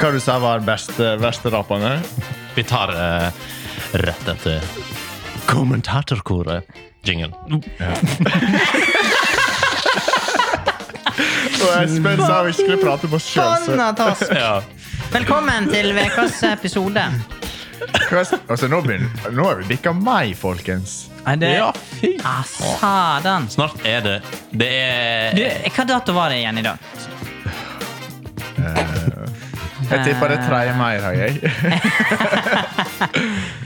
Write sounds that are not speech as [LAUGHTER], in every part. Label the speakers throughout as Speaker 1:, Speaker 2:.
Speaker 1: Hva du sa var best, eh, verste rapperne?
Speaker 2: Vi tar eh, rett etter kommentatorkoret. Jingle.
Speaker 1: Og Espen sa vi ikke skulle prate på oss sjøl. så-
Speaker 3: Forbanna task!
Speaker 2: Ja.
Speaker 3: Velkommen til ukas episode.
Speaker 1: Hva- Altså, nå, begynner, nå er vi bikka mai, folkens.
Speaker 3: Nei, det
Speaker 2: ja,
Speaker 3: Ja,
Speaker 2: fy.
Speaker 3: Ah, satan.
Speaker 2: Snart er det Det er
Speaker 3: Du, hva dato var det igjen i dag?
Speaker 1: Jeg tipper det er 3. mai, har jeg.
Speaker 3: Det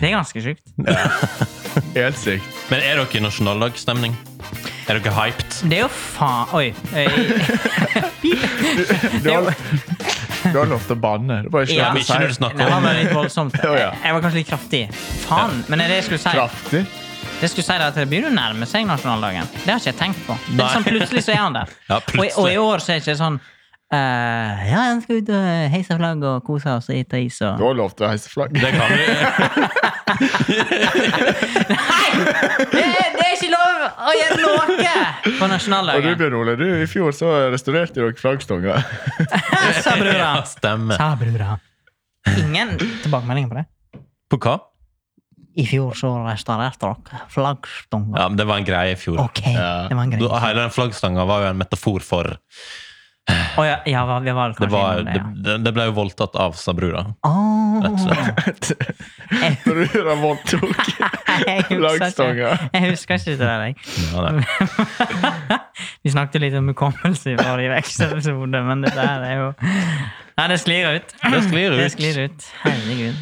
Speaker 3: er ganske sjukt.
Speaker 1: Helt sykt.
Speaker 2: Men er dere i nasjonaldagsstemning? Er dere hyped?
Speaker 3: Det er jo faen Oi. Øy.
Speaker 1: Du har, du har lov til å banne. Det er bare ikke
Speaker 3: Ja.
Speaker 1: lov
Speaker 2: Ikke
Speaker 1: til
Speaker 2: når
Speaker 1: å si
Speaker 2: du
Speaker 3: Det
Speaker 2: snakker
Speaker 3: var
Speaker 2: om
Speaker 3: bare
Speaker 2: [LAUGHS]
Speaker 3: litt voldsomt.
Speaker 1: Jo, ja.
Speaker 3: Jeg var kanskje litt kraftig. Faen. Men det jeg skulle si,
Speaker 1: kraftig.
Speaker 3: det jeg skulle si er at det begynner å nærme seg nasjonaldagen. Det har ikke jeg tenkt på. Det er
Speaker 2: Nei.
Speaker 3: sånn, plutselig så er han der.
Speaker 2: [LAUGHS] Ja,
Speaker 3: og, i, og
Speaker 2: plutselig.
Speaker 3: i år så er det ikke sånn eh, Ja, jeg skal ut og heise flagg og kose oss og ete is og
Speaker 1: Du har lov til å heise flagg.
Speaker 2: Det kan vi.
Speaker 3: Det, det er ikke lov å gjøre noe på
Speaker 1: Og du,
Speaker 3: nasjonaldagen!
Speaker 1: Bjørn Ole, du, i fjor så restaurerte dere flaggstanga.
Speaker 2: [LAUGHS]
Speaker 3: Sa brura.
Speaker 2: Ja, stemmer.
Speaker 3: Sa brura. Ingen tilbakemeldinger på det?
Speaker 2: På hva?
Speaker 3: I fjor så restaurerte dere flaggstanga.
Speaker 2: Ja, men Det var en greie i fjor.
Speaker 3: Ok,
Speaker 1: Ja.
Speaker 3: det var en
Speaker 2: Da-
Speaker 3: greie.
Speaker 2: Hele den flaggstanga var jo en metafor for
Speaker 3: Å ja, ja, vi var kanskje
Speaker 2: Det, var,
Speaker 3: innom
Speaker 2: det,
Speaker 3: ja.
Speaker 2: det- det ble jo voldtatt av, sa brura.
Speaker 3: Åh.
Speaker 2: Rett og
Speaker 1: Brura voldtok
Speaker 3: [LAUGHS]
Speaker 2: [LAUGHS]
Speaker 3: Jeg husker ikke-
Speaker 1: flaggstanga.
Speaker 3: Jeg husker ikke det der, jeg.
Speaker 2: Ja, nei.
Speaker 3: [LAUGHS] Vi snakket litt om hukommelse i forrige vekstepisode, men det der er jo Nei, det sklir ut.
Speaker 2: Det sklir ut.
Speaker 3: [LAUGHS] Det sklir ut. Herregud.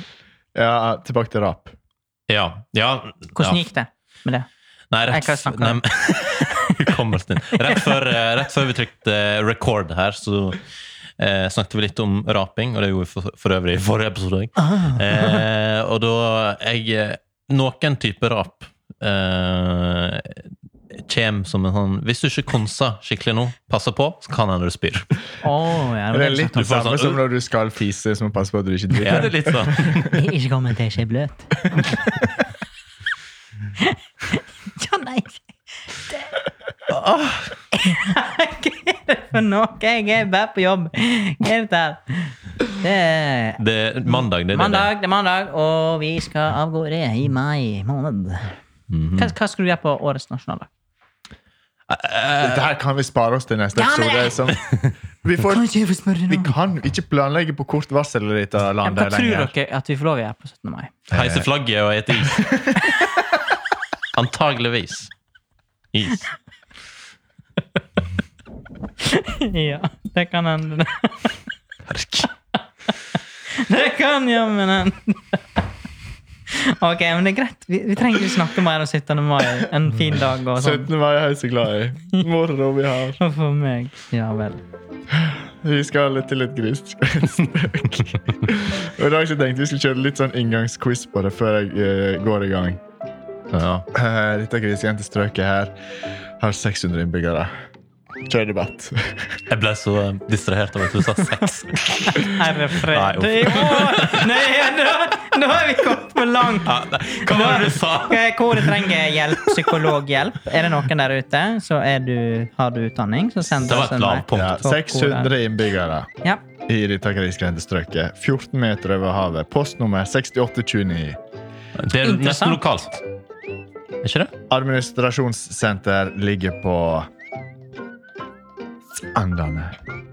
Speaker 1: Ja, tilbake til rap.
Speaker 2: Ja. ja.
Speaker 3: Hvordan
Speaker 2: ja.
Speaker 3: gikk det med det?
Speaker 2: Nei,
Speaker 3: Jeg
Speaker 2: rett,
Speaker 3: kan snakke
Speaker 2: nei, [LAUGHS]
Speaker 3: om
Speaker 2: hukommelsen din. Rett før, eh, rett før vi trykte eh, record her, så eh, snakket vi litt om raping, og det gjorde vi for, for øvrig i forrige episode òg.
Speaker 3: Ah.
Speaker 2: Eh, og da jeg eh, Noen type rap eh, kjem som en sånn Hvis du ikke konser skikkelig nå, passer på, så kan hende du spyr.
Speaker 3: Åh, ja,
Speaker 1: Det er
Speaker 3: det var det
Speaker 1: litt
Speaker 2: Du
Speaker 1: det
Speaker 2: får
Speaker 1: samme
Speaker 2: sånn-
Speaker 1: som når du skal fise, så må du passe på at du ikke
Speaker 2: Ja,
Speaker 1: driter.
Speaker 2: det er litt sånn.
Speaker 3: som- [LAUGHS] Ikke kom til ikke er bløt. ja, nei det. [LAUGHS] Hva er det for noe? Jeg er bare på jobb. Hva er dette her? Det er
Speaker 2: Det er mandag, det er det.
Speaker 3: mandag, det er mandag, og vi skal av gårde i mai måned.
Speaker 1: Mhm.
Speaker 3: Hva, hva skal du gjøre på årets nasjonaldag?
Speaker 1: Dette her kan vi spare oss til neste
Speaker 3: Eh, Ja, men-
Speaker 1: episode. Som, vi, får,
Speaker 3: ikke jeg få spørre
Speaker 1: vi kan ikke planlegge på kort varsel i dette
Speaker 3: Hva
Speaker 1: landet
Speaker 3: tror
Speaker 1: lenger.
Speaker 3: dere at vi får lov å gjøre på 17. mai?
Speaker 2: Heise flagget og ete is. Antageligvis. Is.
Speaker 3: [LAUGHS] ja, det kan hende.
Speaker 2: Herk.
Speaker 3: Det kan jammen hende. Ok, men det er greit. Vi, vi trenger ikke snakke mer om 17. mai. En fin dag og sånn.
Speaker 1: 17. mai er jeg så glad i. Moro vi har.
Speaker 3: Og for meg. Ja vel.
Speaker 1: Vi skal til et griststrøk. [LAUGHS] Og i dag så tenkte vi skulle kjøre litt sånn inngangsquiz på det før jeg eh, går i gang.
Speaker 2: Ja.
Speaker 1: Eh, Dette grisgrendte strøket her har 600 innbyggere. Kjør debatt.
Speaker 2: Jeg ble så eh, distrahert av at du sa sex. [LAUGHS]
Speaker 3: Herre
Speaker 2: Nei,
Speaker 3: fred.
Speaker 2: uff.
Speaker 3: Det er- Åh, Nei, ja, da- da har vi kommet for langt.
Speaker 2: Ja, nei, Hva var det du sa?
Speaker 3: Eh, Hvor trenger hjelp, psykologhjelp? Er det noen der ute, så er du, har du utdanning, så send
Speaker 2: Det var
Speaker 3: oss
Speaker 2: et
Speaker 3: en mail.
Speaker 1: Ja,
Speaker 2: lavpunkt.
Speaker 1: 600 innbyggere
Speaker 3: Ja.
Speaker 1: i dette grisgrendte strøket. 14 meter over havet. Postnummer 6829.
Speaker 2: Det er nesten
Speaker 3: Interessant.
Speaker 2: lokalt. Er ikke det?
Speaker 1: Administrasjonssenter ligger på Andane.
Speaker 2: Er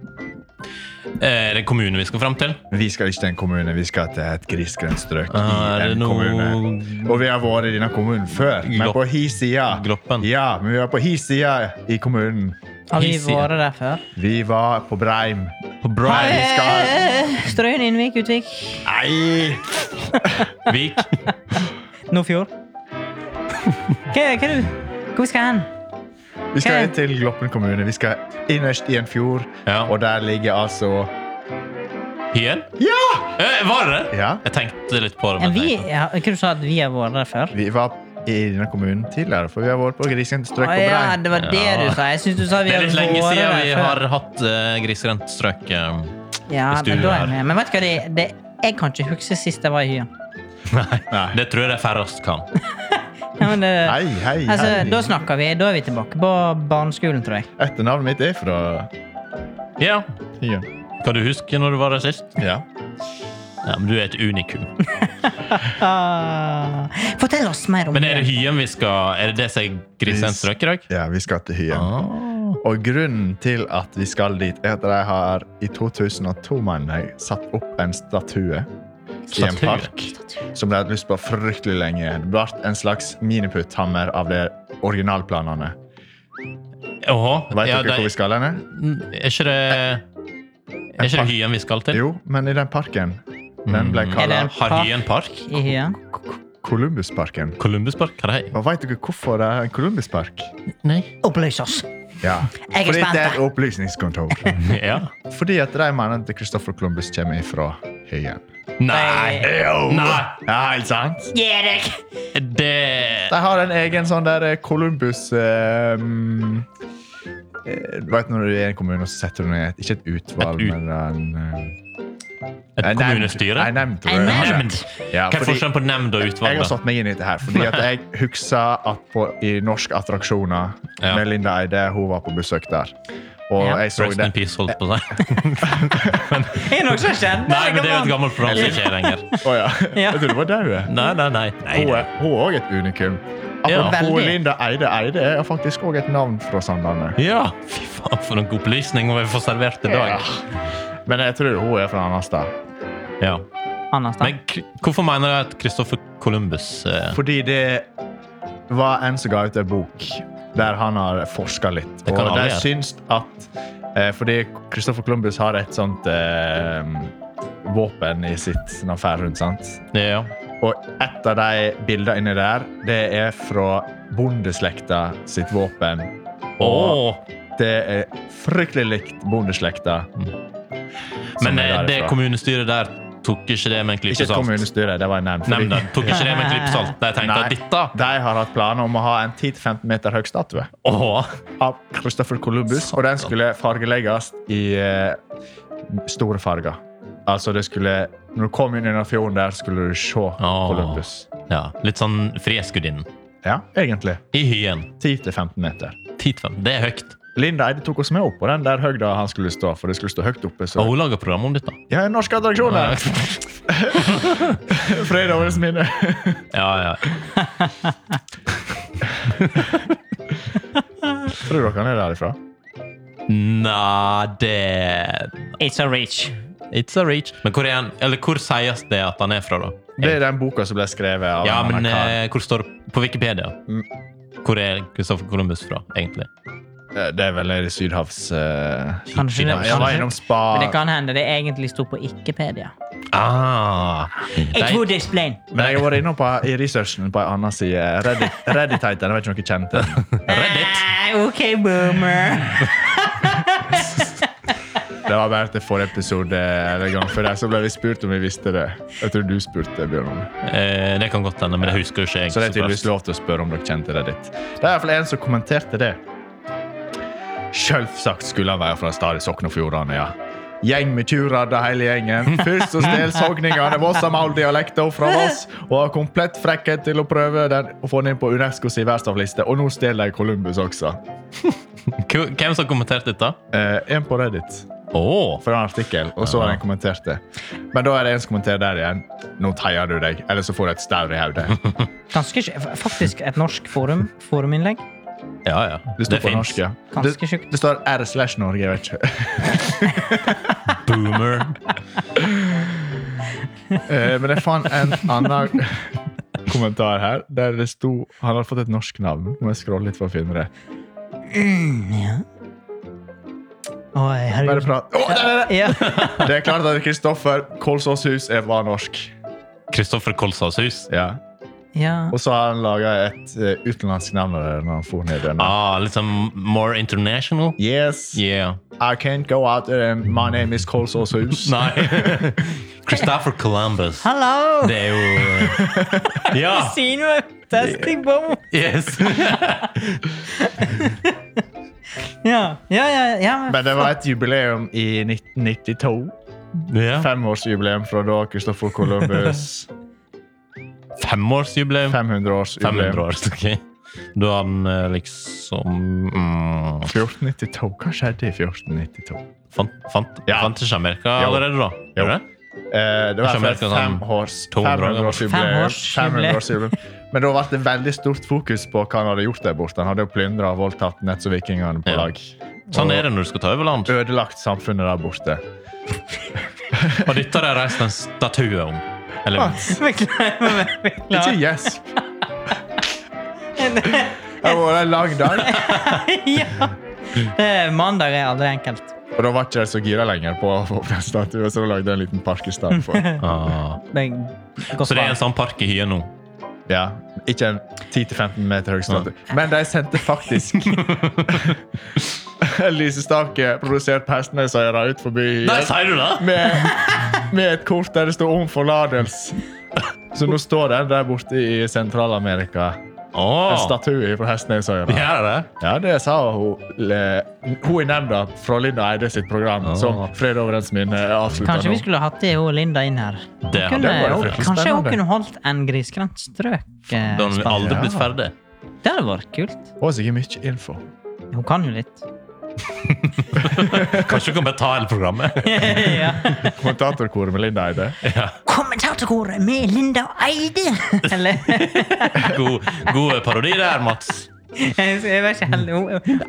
Speaker 2: Eh, det kommunen vi skal fram til?
Speaker 1: Vi skal ikke til en kommune, vi skal til et grisgrendt strøk
Speaker 2: Ah, Er
Speaker 1: i
Speaker 2: det
Speaker 1: en
Speaker 2: noe-
Speaker 1: kommune. Og vi har vært i denne kommunen før, men
Speaker 2: Glopp-
Speaker 1: på hi sida.
Speaker 2: Gloppen.
Speaker 1: Ja, men vi var på hi sida i kommunen.
Speaker 3: Har vi
Speaker 2: Hissig.
Speaker 3: vært der før?
Speaker 1: Vi var på Breim.
Speaker 2: På Bride
Speaker 1: skal-
Speaker 3: Eh, Strøyn, Innvik, Utvik,
Speaker 1: Nei!
Speaker 2: Vik.
Speaker 3: Nordfjord. Hva hva er du? Hvor skal hen?
Speaker 1: Vi skal
Speaker 3: Ok.
Speaker 1: inn til Gloppen kommune. Vi skal innerst i en fjord,
Speaker 2: Ja.
Speaker 1: og der ligger altså
Speaker 2: Hyen?
Speaker 1: Ja!
Speaker 2: Eh, var det det?
Speaker 1: Ja.
Speaker 2: Jeg tenkte litt på det.
Speaker 3: Ja,
Speaker 2: men
Speaker 3: vi,
Speaker 2: tenkte-
Speaker 3: ja, hva du sa at vi har vært der før?
Speaker 1: Vi var i denne kommunen tidligere, for vi har vært på Grisgrendte strøk
Speaker 3: Å
Speaker 1: på
Speaker 3: ja,
Speaker 1: Breim.
Speaker 3: det var det du sa. Jeg syns du sa vi
Speaker 2: Det
Speaker 3: har
Speaker 2: er
Speaker 3: vært
Speaker 2: litt lenge siden
Speaker 3: der
Speaker 2: vi
Speaker 3: før.
Speaker 2: har hatt uh, grisgrendt strøk. eh.
Speaker 3: Ja,
Speaker 2: hvis du
Speaker 3: men da er
Speaker 2: er-
Speaker 3: jeg med. Men vet du hva, det, det, jeg kan ikke huske sist jeg var i Hyen.
Speaker 2: Nei.
Speaker 1: Nei.
Speaker 2: [LAUGHS] Det tror jeg de færrest kan.
Speaker 3: Ja, men det,
Speaker 1: Hei, hei,
Speaker 3: altså, da
Speaker 1: hei.
Speaker 3: snakker vi. Da er vi tilbake på barneskolen, tror jeg.
Speaker 1: Etternavnet mitt er fra
Speaker 2: Ja.
Speaker 1: Hyen.
Speaker 2: Kan du huske når du var der sist?
Speaker 1: Ja.
Speaker 2: Ja, men du er et unikum.
Speaker 3: Ah. Fortell oss mer om
Speaker 2: Men er det Hyen vi skal Er det det som er grisenstrøk i dag?
Speaker 1: Ja, vi skal til Hyen.
Speaker 2: Ah.
Speaker 1: Og grunnen til at vi skal dit, er at de har i 2002 mener jeg, satt opp en statue i en
Speaker 2: Statue?
Speaker 1: park som de hadde lyst på fryktelig lenge. Det ble en slags miniputthammer av de originalplanene.
Speaker 2: Jaha.
Speaker 1: Vet
Speaker 2: Ja,
Speaker 1: dere hvor vi
Speaker 2: det, Mm,
Speaker 1: skal hen?
Speaker 2: er ikke det Er ikke det Hyen vi skal til?
Speaker 1: Jo, men i den parken. Den ble
Speaker 2: Mm.
Speaker 3: Er det
Speaker 1: kalla
Speaker 3: en
Speaker 2: Har
Speaker 3: park
Speaker 2: Hyen park?
Speaker 3: i Hyen?
Speaker 1: Columbusparken.
Speaker 2: Columbuspark? Hva er det?
Speaker 1: Og veit dere hvorfor det er en Columbuspark?
Speaker 2: Nei.
Speaker 3: Opplys oss.
Speaker 1: Ja.
Speaker 3: Jeg er
Speaker 1: Fordi
Speaker 3: spent.
Speaker 1: det er et
Speaker 2: [LAUGHS]
Speaker 1: opplysningskontor.
Speaker 2: Ja.
Speaker 1: Fordi at de mener at Christopher Columbus kommer ifra Hyen.
Speaker 2: Nei. Nei.
Speaker 1: Ja, ikke sant?
Speaker 3: Gi deg! [LAUGHS]
Speaker 2: Det
Speaker 1: De har en egen sånn der eh, Columbus eh, mm, eh, Du vet når du er i en kommune, så setter du ned et, ikke et utvalg,
Speaker 2: Et ut-
Speaker 1: men en, eh,
Speaker 2: Et
Speaker 1: en nemnd.
Speaker 2: kommunestyre?
Speaker 1: En nemnd, tror
Speaker 3: En
Speaker 1: jeg.
Speaker 3: nemnd?
Speaker 2: Nemnd.
Speaker 1: Ja,
Speaker 2: Hva er
Speaker 1: fordi
Speaker 2: forskjellen på nemnd og
Speaker 1: jeg
Speaker 2: utvalg?
Speaker 1: har
Speaker 2: da?
Speaker 1: satt meg inn i dette her, fordi at
Speaker 2: [LAUGHS]
Speaker 1: jeg husker at på, i Norsk attraksjoner
Speaker 2: Ja.
Speaker 1: med Linda Eide, hun var på besøk der. Og
Speaker 3: Ja.
Speaker 1: jeg så
Speaker 2: Rest in
Speaker 1: det.
Speaker 2: peace, holdt
Speaker 1: [LAUGHS]
Speaker 2: på å si.
Speaker 3: Er det noen som kjenner
Speaker 2: Nei, men det er jo et gammelt program som ikke er lenger.
Speaker 1: Å [LAUGHS] ja.
Speaker 3: [LAUGHS] Ja.
Speaker 1: Jeg trodde det var daue.
Speaker 2: Nei, nei, nei. nei.
Speaker 1: Hun er- hun er òg et unikum.
Speaker 2: Ja.
Speaker 1: Apropos
Speaker 3: Veldig.
Speaker 1: Linda Eide Eide er faktisk òg et navn fra Sandane.
Speaker 2: Ja, fy faen, for noen opplysninger vi får servert i dag.
Speaker 1: Men jeg tror hun er fra en annen sted.
Speaker 2: Ja.
Speaker 3: Anna Stang.
Speaker 2: Men k- hvorfor mener du at Christopher Columbus eh,
Speaker 1: Fordi det var en som ga ut en bok der han har forska litt.
Speaker 2: Det kan
Speaker 1: Og
Speaker 2: alle
Speaker 1: de
Speaker 2: gjøre.
Speaker 1: syns at eh, Fordi Christopher Columbus har et sånt eh, våpen i sitt når han fer rundt, sant?
Speaker 2: ja.
Speaker 1: Og et av de bildene inni der, det er fra bondeslekta sitt våpen. Og
Speaker 2: Åh,
Speaker 1: det er fryktelig likt bondeslekta. som
Speaker 2: Mm. Men
Speaker 1: er
Speaker 2: eh, det
Speaker 1: derifra.
Speaker 2: kommunestyret der tok ikke det med en
Speaker 1: Ikke
Speaker 2: klype
Speaker 1: et
Speaker 2: salt?
Speaker 1: kommunestyre, det var en nemnd. fordi-
Speaker 2: Nemnda tok ikke det med en klype salt? De tenkte
Speaker 1: Nei.
Speaker 2: at dette
Speaker 1: De har hatt planer om å ha en 10-15 meter høy statue
Speaker 2: Åh,
Speaker 1: av Christopher Columbus, og den skulle fargelegges i eh, store farger. Altså, det skulle Når du kom inn under fjorden der, skulle du se Columbus.
Speaker 2: ja. Litt sånn Frieskodinnen.
Speaker 1: Ja, egentlig.
Speaker 2: I Hyen.
Speaker 1: 10-15 meter.
Speaker 2: 10-5. Det er høyt.
Speaker 1: Linda Eide tok oss med opp på den der høyda han skulle stå, for det skulle stå høyt oppe.
Speaker 2: Og
Speaker 1: Så.
Speaker 2: hun lager program om dette.
Speaker 1: Ja, norske
Speaker 2: [LAUGHS]
Speaker 1: attraksjoner! Fredagens minne.
Speaker 2: Ja, ja.
Speaker 1: Tror dere han er derifra?
Speaker 2: Nei, det
Speaker 3: It's a reach.
Speaker 2: It's a reach. Men hvor, er han, eller hvor sies det at han er fra, da?
Speaker 1: Det er den boka som ble skrevet av
Speaker 2: Ja,
Speaker 1: han
Speaker 2: men
Speaker 1: her karen.
Speaker 2: eh, hvor står det på Wikipedia?
Speaker 1: Mm.
Speaker 2: Hvor er Christopher Columbus fra, egentlig?
Speaker 1: Eh, Det er vel nede i Sydhavs... eh,
Speaker 3: Kanskje det,
Speaker 2: Ja,
Speaker 1: Jeg var
Speaker 3: kanskje.
Speaker 1: innom spa.
Speaker 3: Men det kan hende det egentlig sto på Ikkepedia.
Speaker 2: Ah,
Speaker 3: It
Speaker 2: de,
Speaker 3: would explain.
Speaker 1: Men jeg har vært innom på, i researchen på en annen side. Reddit, Reddit-titan. Jeg vet ikke om dere kjente den.
Speaker 2: Reddit.
Speaker 3: Ah, OK, boomer.
Speaker 1: Det var bare til forrige episode eh, eller gang før det, så ble vi spurt om vi visste det. Jeg tror du spurte, Bjørn. om det.
Speaker 2: Eh, det kan godt hende, men det husker jo ikke jeg.
Speaker 1: Så det er
Speaker 2: så
Speaker 1: tydeligvis
Speaker 2: bra.
Speaker 1: lov til å spørre om dere kjente Reddit. Det er i hvert fall en som kommenterte det. Selvsagt skulle han være fra stedet Sogn og Fjordane, ja. Gjeng med tjuradder, hele gjengen. Først så stjal [LAUGHS] sogningene vår Amahl-dialekter fra oss, og har komplett frekkhet til å prøve den, å få den inn på UNESCOs verdensarvliste, og nå stjeler de Columbus også.
Speaker 2: Hvem hvem som kommenterte dette?
Speaker 1: Eh, en på Reddit
Speaker 2: Åh,
Speaker 1: for en artikkel, og så har en kommentert det. Men da er det en som kommenterer der igjen. Nå teier du deg, eller så får du et staur i hodet.
Speaker 3: Ganske sj- Faktisk et norsk forum. Foruminnlegg.
Speaker 2: ja, ja.
Speaker 1: [LAUGHS] Det står på
Speaker 2: finnes.
Speaker 1: norsk, ja. Det,
Speaker 3: Ganske sjukt.
Speaker 1: det står R slash Norge, jeg vet ikke.
Speaker 2: Boomer.
Speaker 1: Eh, Men jeg fant en annen kommentar her, der det sto Han har fått et norsk navn. Må jeg scrolle litt for å finne det.
Speaker 2: Mm,
Speaker 3: Oi,
Speaker 1: Bare
Speaker 3: herregud.
Speaker 1: prat. Å, der, der,
Speaker 3: Ja.
Speaker 1: der. Det er klart at Kristoffer Kolsås Hus er- var norsk.
Speaker 2: Kristoffer Kolsås hus.
Speaker 1: Ja.
Speaker 2: [LAUGHS]
Speaker 3: ja.
Speaker 1: Og så har han laga et eh, utenlandsk navn av det når han for ned igjen.
Speaker 2: Ah, litt sånn more international?
Speaker 1: Yes,
Speaker 2: Yeah.
Speaker 1: I can't go out there and my name is Kolsås Hus. [LAUGHS]
Speaker 2: Nei. Christopher Columbus.
Speaker 3: Hallo!
Speaker 2: Det er jo eh, Ja!
Speaker 3: Siden du er testing bomb.
Speaker 2: Yes.
Speaker 3: Ja, ja, ja. ja.
Speaker 1: Men det var et jubileum i 1992.
Speaker 2: ja.
Speaker 1: Femårsjubileum fra da Christopher
Speaker 2: [LAUGHS]
Speaker 1: Columbus.
Speaker 2: Femårsjubileum. 500
Speaker 1: 500-årsjubileum.
Speaker 2: år, ok. Da har han eh, liksom mm,
Speaker 1: 1492. Hva skjedde i 1492?
Speaker 2: fant, fant,
Speaker 1: Ja.
Speaker 2: fant ikke Amerika
Speaker 1: Jo.
Speaker 2: allerede, da?
Speaker 1: Jo.
Speaker 2: Gjorde det?
Speaker 1: Eh, det var
Speaker 2: Jeg skjønner
Speaker 1: for
Speaker 2: ikke hva sånn
Speaker 1: fem års-
Speaker 2: 200 år gammel.
Speaker 1: 500-årsjubileum.
Speaker 3: Femårsjubileum.
Speaker 1: 500-årsjubileum. Men da ble det veldig stort fokus på hva han hadde gjort der borte. Han hadde jo plyndra og voldtatt nett som vikingene på
Speaker 2: Ja.
Speaker 1: lag.
Speaker 2: Sånn er det når du skal ta over land.
Speaker 1: Ødelagt samfunnet der borte.
Speaker 2: Og dette har de reist en statue om. Eller,
Speaker 3: Beklager.
Speaker 1: Ikke
Speaker 3: beklager.
Speaker 1: gjesp. Det var en lang dag,
Speaker 3: [LAUGHS] ja. Det er mandag er aldri enkelt.
Speaker 1: og da var ikke jeg så gira lenger på å få opp den statuen, så da lagde jeg en liten park i stedet for.
Speaker 2: ah.
Speaker 3: Det er godt
Speaker 2: Så det er
Speaker 3: valg.
Speaker 2: en sånn park i Hyen nå.
Speaker 1: Ja, ikke en 10-15 meter høy statue. Men de sendte faktisk [LAUGHS] en lysestake produsert på Hestnesøyra ut forbi
Speaker 2: Der
Speaker 1: Hyen.
Speaker 2: sier du det!
Speaker 1: med, med et kort der det står 'om forlatelse'. Så nå står den der borte i Sentral-Amerika. En
Speaker 2: Åh,
Speaker 1: statue fra Hestnesøyra.
Speaker 2: de gjør det.
Speaker 1: Ja, det sa hun, le, hun i nemnda fra Linda Eide sitt program,
Speaker 2: Ah.
Speaker 1: som Fred Overens minne avslutta
Speaker 3: Kanskje
Speaker 1: nå.
Speaker 3: vi skulle hatt det og Linda inn her. Hun
Speaker 2: Det hadde
Speaker 3: kunne,
Speaker 1: vært
Speaker 3: hun,
Speaker 1: fryktelig
Speaker 3: kanskje hun
Speaker 1: spennende.
Speaker 3: kunne holdt en grisgrendt strøk. eh,
Speaker 2: Da har vi
Speaker 3: spalte.
Speaker 2: aldri
Speaker 1: Ja.
Speaker 2: blitt ferdig.
Speaker 3: Det hadde vært kult.
Speaker 1: Og sikkert mye info.
Speaker 3: Hun kan jo
Speaker 2: [LAUGHS]
Speaker 3: litt.
Speaker 2: Kanskje du kan bare ta hele programmet?
Speaker 3: ja.
Speaker 1: Kommentatorkoret med Linda Eide.
Speaker 3: Kommentatorkoret med Linda og
Speaker 2: [LAUGHS]
Speaker 3: Eide! Eller
Speaker 2: God, god parodi der, Mats.
Speaker 3: Jeg jeg var ikke heldig. Hun, hun, hun,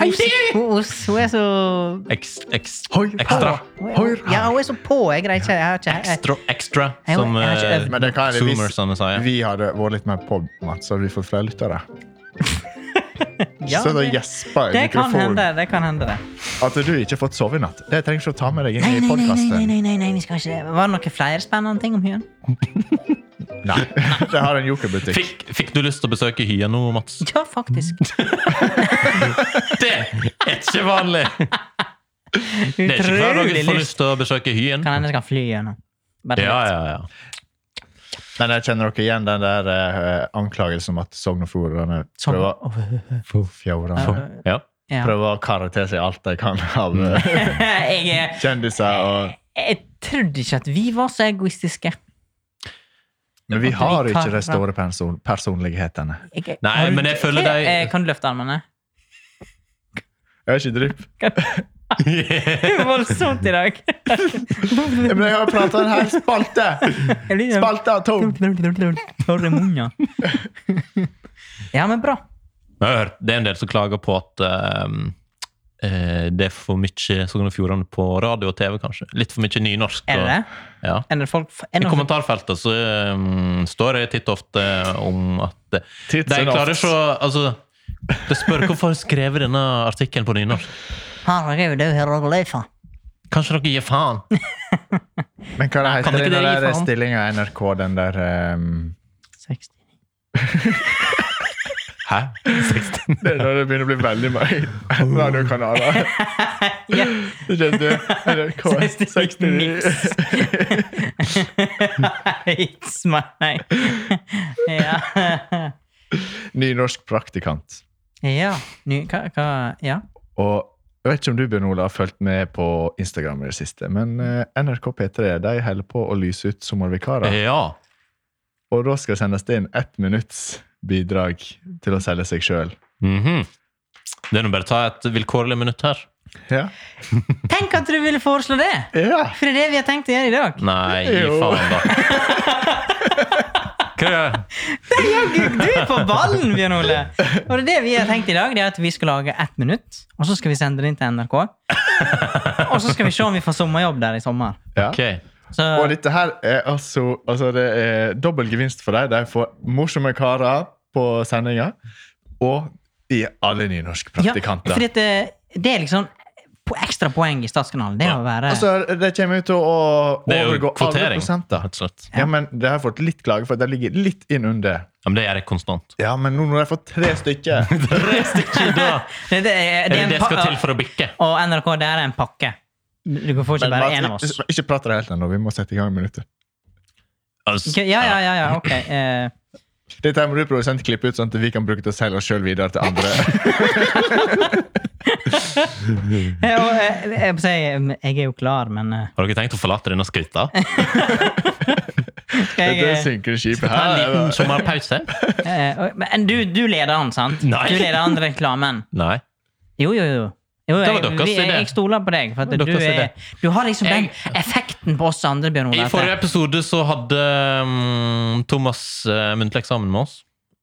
Speaker 3: hun, hun er så
Speaker 2: Eks, eks,
Speaker 1: Høyre.
Speaker 2: ekstra.
Speaker 3: hun er,
Speaker 1: Høyre.
Speaker 3: Ja, hun er så på. Jeg greier ikke Jeg har ikke jeg,
Speaker 2: Ekstra, ekstra,
Speaker 3: Jeg-
Speaker 2: som
Speaker 3: jeg har ikke
Speaker 2: eh,
Speaker 3: øvd.
Speaker 1: Men det kan jeg hvis
Speaker 2: zoomers sier.
Speaker 1: vi hadde vært litt mer på, Mats, så hadde vi fått flere lyttere.
Speaker 3: ja,
Speaker 1: så da
Speaker 3: det-
Speaker 1: gjespa
Speaker 3: Det
Speaker 1: jeg
Speaker 3: kan hende,
Speaker 1: mikrofonen.
Speaker 3: det kan hende, det.
Speaker 1: At du ikke har fått sove i natt. Det trenger ikke å ta med deg inn i
Speaker 3: Nei, nei, nei, nei,
Speaker 1: podkasten.
Speaker 3: nei, nei, nei, vi skal ikke det. Var det noen flere spennende ting om hyen?
Speaker 1: Nei. [LAUGHS] Det har en jokerbutikk.
Speaker 2: Fikk, fikk du lyst til å besøke Hyen nå, Mats?
Speaker 3: Ja,
Speaker 2: [LAUGHS]
Speaker 3: faktisk.
Speaker 2: Det er ikke vanlig! Det er ikke hver dag
Speaker 3: Utrolig
Speaker 2: du får
Speaker 3: lyst.
Speaker 2: lyst til å besøke Hyen.
Speaker 3: Kan hende jeg kan fly gjennom. Bare
Speaker 2: Ja,
Speaker 3: litt.
Speaker 2: ja, ja.
Speaker 1: Men jeg kjenner dere igjen den der eh, anklagelsen om at Sogn og Fjordane
Speaker 3: Sånn.
Speaker 1: prøver, Fjordane
Speaker 2: ja.
Speaker 3: Ja.
Speaker 1: prøver å karre seg alt de kan av eh, [LAUGHS]
Speaker 3: [LAUGHS] jeg, er-
Speaker 1: kjendiser. Og,
Speaker 3: jeg trodde ikke at vi var så egoistiske.
Speaker 1: men vi
Speaker 3: At vi
Speaker 1: har ikke
Speaker 3: karrer.
Speaker 1: de store person personlighetene.
Speaker 3: Jeg,
Speaker 2: Nei,
Speaker 3: har du-
Speaker 2: men jeg føler de-
Speaker 3: Eh, Kan du løfte armene?
Speaker 1: Jeg har ikke [LAUGHS] drypp.
Speaker 3: [LAUGHS] Det er Voldsomt i dag.
Speaker 1: Men jeg har prata en hel spalte! Spalte av to!
Speaker 3: Tørr i munnen. Ja, men bra.
Speaker 2: Men jeg har hørt, det er en del som klager på at ehm, eh, det er for mye Sogn og Fjordane på radio og TV, kanskje. Litt for mye nynorsk.
Speaker 3: Er det det?
Speaker 2: Og, ja.
Speaker 3: Er det folk er
Speaker 2: I
Speaker 3: det noen-
Speaker 2: kommentarfeltet så ehm, står det titt og ofte om at eh,
Speaker 1: Titt
Speaker 2: de
Speaker 1: og ofte.
Speaker 2: klarer ikke å Altså, de spør hvorfor har du skrevet denne artikkelen på nynorsk.
Speaker 3: Herregud, det er jo
Speaker 2: [LAUGHS]
Speaker 3: hieroglyfer.
Speaker 2: Kanskje dere gir faen?
Speaker 1: Men hva det heter
Speaker 2: Kan ikke
Speaker 1: den
Speaker 2: dere gi
Speaker 1: der
Speaker 2: faen?
Speaker 1: stillinga i NRK, den der ehm,
Speaker 3: 60.
Speaker 2: Hæ? 16?
Speaker 1: [LAUGHS] Det er når det begynner å bli veldig mange [LAUGHS] radiokanaler.
Speaker 3: Ja.
Speaker 1: Det kjente
Speaker 3: [LAUGHS]
Speaker 1: NRK
Speaker 3: 60
Speaker 1: [LAUGHS]
Speaker 3: mix. [LAUGHS]
Speaker 1: 69.
Speaker 3: It's my
Speaker 1: [LAUGHS]
Speaker 3: Ja. [LAUGHS]
Speaker 1: Nynorsk praktikant.
Speaker 3: ja. Ny, hva, hva Ja.
Speaker 1: Og jeg vet ikke om du Bjørn Ole, har fulgt med på Instagram i det siste, men eh, NRK P3 de holder på å lyse ut sommervikarer.
Speaker 2: Ja.
Speaker 1: Og da skal det sendes inn ett minutts bidrag til å selge seg sjøl.
Speaker 2: Mhm. Det er nå bare å ta et vilkårlig minutt her.
Speaker 1: Ja.
Speaker 3: Tenk at du ville foreslå det!
Speaker 1: ja!
Speaker 3: For det er det vi har tenkt å gjøre i dag.
Speaker 2: Nei, gi
Speaker 1: Jo.
Speaker 2: faen, da. [LAUGHS] Hva er det?
Speaker 3: Jaggu, du er på ballen, Bjørn Ole! Og det er det vi har tenkt i dag, det er at vi skal lage ett minutt, og så skal vi sende det inn til NRK. Og så skal vi se om vi får sommerjobb der i sommer.
Speaker 1: ja.
Speaker 2: Ok.
Speaker 3: Så,
Speaker 1: Og dette her er altså, altså Det er dobbel gevinst for dem. De får morsomme karer på sendinga, og i alle
Speaker 3: Ja,
Speaker 1: nynorskpraktikanter.
Speaker 3: fordi at det, det er liksom po- ekstra poeng i Statskanalen. Det er å være
Speaker 1: Altså, det kommer jo til å
Speaker 2: Det er jo
Speaker 1: overgå alle
Speaker 2: kvotering,
Speaker 1: prosenter.
Speaker 2: rett og slett.
Speaker 1: Ja, men det har jeg fått litt klage for. at Det ligger litt inn under.
Speaker 2: Ja, men det gjør jeg [LAUGHS] konstant.
Speaker 1: Ja, men nå når jeg har fått tre stykker
Speaker 2: Tre stykker, da!
Speaker 3: det, det, er-
Speaker 2: Er
Speaker 3: det
Speaker 2: det
Speaker 3: er en
Speaker 2: det skal
Speaker 3: pa-
Speaker 2: til for å bikke?
Speaker 3: Og NRK, det er en pakke. Du du får ikke
Speaker 1: Men
Speaker 3: bare
Speaker 1: Mats,
Speaker 3: én av oss.
Speaker 1: Ikke, ikke prat dere helt ennå. Vi må sette i gang minuttet.
Speaker 2: Altså,
Speaker 3: Ja, ja, ja, ja ok. eh,
Speaker 1: Dette her må du produsent klippe ut, sånn at vi kan bruke det og selge oss sjøl videre til andre.
Speaker 3: eh, og, eh, jeg, må si, jeg er jo klar, men eh,
Speaker 2: Har dere tenkt å forlate denne skuta?
Speaker 3: [LAUGHS] skal jeg,
Speaker 1: Dette
Speaker 3: eh,
Speaker 1: synker skipet
Speaker 2: Ta en liten
Speaker 1: her.
Speaker 2: sommerpause?
Speaker 3: Eh, og- Men du, du leder han, sant?
Speaker 2: Nei.
Speaker 3: Du leder han til reklamen.
Speaker 2: Nei.
Speaker 3: Jo, jo, jo.
Speaker 2: Det
Speaker 3: jo
Speaker 2: var
Speaker 3: jeg,
Speaker 2: deres
Speaker 3: vi- jeg,
Speaker 2: idé.
Speaker 3: jeg stoler på deg, for at
Speaker 2: Det var
Speaker 3: du,
Speaker 2: deres
Speaker 3: er,
Speaker 2: idé.
Speaker 3: du har liksom den
Speaker 2: Jeg-
Speaker 3: effekten dritten på oss andre, Bjørn
Speaker 2: I
Speaker 3: Olav.
Speaker 2: forrige episode så hadde mm, Thomas uh, muntlig eksamen med oss.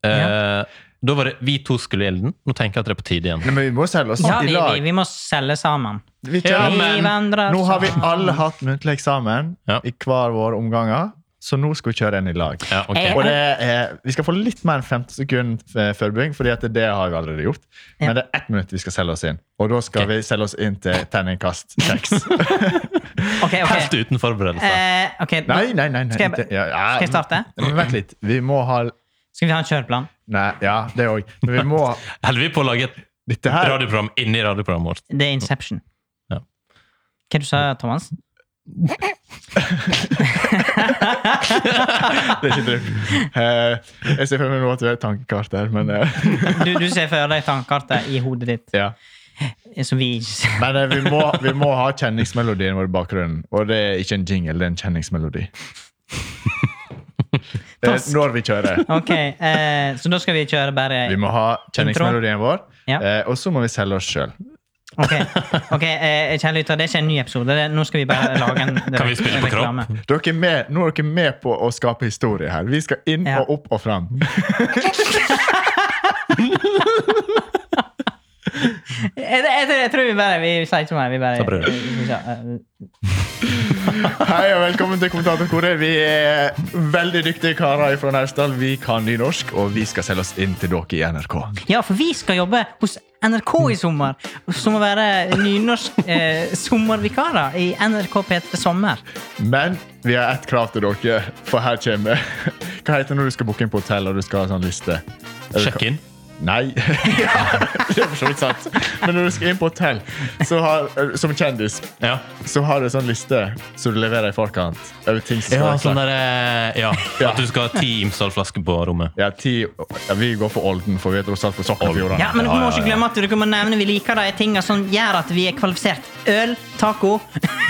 Speaker 2: Eh, Da var det vi to skulle i elden. Nå tenker jeg at det er på tide igjen.
Speaker 1: Nei, Men vi må selge oss
Speaker 3: Ja,
Speaker 1: i
Speaker 3: vi, vi,
Speaker 1: lag.
Speaker 3: vi må selge sammen.
Speaker 1: Vi
Speaker 2: Ja,
Speaker 1: kjører-
Speaker 2: men-
Speaker 3: vi vandrer
Speaker 1: nå har vi
Speaker 3: sammen.
Speaker 1: alle hatt muntlig eksamen
Speaker 2: Ja.
Speaker 1: i hver vår omganger, så nå skal vi kjøre en i lag.
Speaker 2: Ja, ok.
Speaker 3: Jeg-
Speaker 1: Og det er, vi skal få litt mer enn 50 sekunder eh, forbereding, fordi at det har vi allerede gjort.
Speaker 3: Ja.
Speaker 1: Men det er ett minutt vi skal selge oss inn, og da skal
Speaker 2: Ok.
Speaker 1: vi selge oss inn til terningkast seks.
Speaker 3: [LAUGHS] Ok, ok.
Speaker 2: Helt uten forberedelse.
Speaker 3: Eh, ok, da-
Speaker 1: Nei, nei, nei. nei
Speaker 3: Skal jeg
Speaker 1: ikke- ja, ja,
Speaker 3: skal jeg starte?
Speaker 1: Men vent litt. Vi må ha
Speaker 3: Skal vi ha en kjøreplan?
Speaker 1: Nei, ja, det òg. Men vi
Speaker 3: [LAUGHS]
Speaker 1: må
Speaker 2: Holder vi på å lage et
Speaker 1: Dette her
Speaker 2: radioprogram inni radioprogrammet
Speaker 3: [LAUGHS]
Speaker 2: vårt?
Speaker 3: Det er Inception.
Speaker 2: Ja.
Speaker 3: Hva du sa du, Thomas?
Speaker 1: Det er ikke
Speaker 3: [LAUGHS]
Speaker 1: drypp. Eh, jeg ser for meg nå at du er et tankekart der, men eh,
Speaker 3: [LAUGHS] Du, du ser for deg tankekartet i hodet ditt.
Speaker 1: [LAUGHS] ja.
Speaker 3: Som vi ikke ser.
Speaker 1: Men eh, vi, må, vi må ha kjenningsmelodien vår i bakgrunnen. Og det er ikke en jingle, det er en kjenningsmelodi. Eh,
Speaker 3: Task.
Speaker 1: Når vi kjører.
Speaker 3: Ok, eh, Så da skal vi kjøre bare
Speaker 1: Vi må ha kjenningsmelodien vår,
Speaker 3: Ja.
Speaker 1: eh, og så må vi selge oss sjøl.
Speaker 3: Ok, ok, eh, kjære lytter, det er ikke en ny episode. Det, nå skal vi bare lage en
Speaker 2: [LAUGHS] Kan vi spille på
Speaker 3: reklame.
Speaker 1: Nå er dere med på å skape historie her. Vi skal inn
Speaker 3: Ja.
Speaker 1: og opp og fram. [LAUGHS]
Speaker 3: Jeg, jeg, jeg tror vi bare Vi sier ikke mer. Vi bare
Speaker 2: Da prøver vi.
Speaker 3: vi- vi sa, eh,
Speaker 1: Hei og velkommen til Kommentatorkoret. Vi er veldig dyktige karer fra Naustdal. Vi kan nynorsk, og vi skal selge oss inn til dere i NRK.
Speaker 3: Ja, for vi skal jobbe hos NRK i sommer. Som å være nynorsk eh, sommervikarer i NRK P3 Sommer.
Speaker 1: Men vi har ett krav til dere, for her kommer [LAUGHS] Hva heter det når du skal booke inn på hotell og du skal ha sånn liste?
Speaker 2: Sjekk inn.
Speaker 1: Nei. [LAUGHS] ja, det er for så vidt sant. Men når du skal inn på hotell så har, som kjendis,
Speaker 2: Ja.
Speaker 1: så har du en sånn liste som du leverer i forkant. Over ting som skal
Speaker 2: Ja,
Speaker 1: være
Speaker 2: sånn
Speaker 1: klart.
Speaker 2: der, eh,
Speaker 3: [LAUGHS]
Speaker 2: ja,
Speaker 1: Ja.
Speaker 2: at du skal ha ti Imsdal-flasker på rommet.
Speaker 1: Ja, ti, ja, vi går for Olden, for vi er tross alt på Sognefjordane.
Speaker 3: Ja, men dere må
Speaker 2: ja,
Speaker 3: ikke
Speaker 2: ja.
Speaker 3: glemme at dere må nevne vi liker de tingene som gjør at vi er kvalifisert. Øl, taco,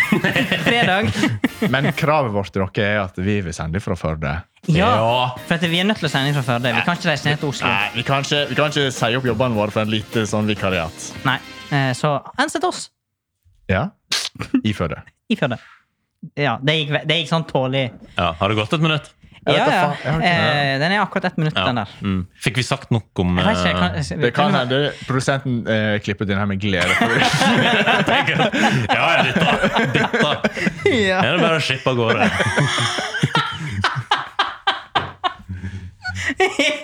Speaker 3: [LAUGHS] fredag.
Speaker 1: Men kravet vårt til dere er at vi vil sende fra Førde.
Speaker 3: Ja, for at vi er nødt til å sende fra Førde. Vi kan ikke reise ned til Oslo.
Speaker 1: Nei, vi kan ikke, vi kan ikke si opp jobbene våre for en lite sånn vikariat.
Speaker 3: Nei. Eh, Så ansett oss
Speaker 1: Ja. I Førde.
Speaker 3: i Førde. Ja, det gikk, ve- det gikk sånn tålelig.
Speaker 2: Ja, Har det gått et minutt?
Speaker 1: Jeg vet
Speaker 3: Ja,
Speaker 1: da
Speaker 3: ja.
Speaker 1: faen, jeg har ikke-
Speaker 3: Eh, Den er akkurat ett minutt,
Speaker 2: Ja.
Speaker 3: den der.
Speaker 2: Mm. Fikk vi sagt nok om
Speaker 3: Jeg vet ikke,
Speaker 2: eh,
Speaker 3: jeg kan,
Speaker 1: Det kan hende produsenten eh, klippet inn her med glede. For
Speaker 2: jeg tenker at- [LAUGHS] Ja, ja, dette, dette.
Speaker 3: [LAUGHS] Ja.
Speaker 2: Er det bare å slippe av gårde?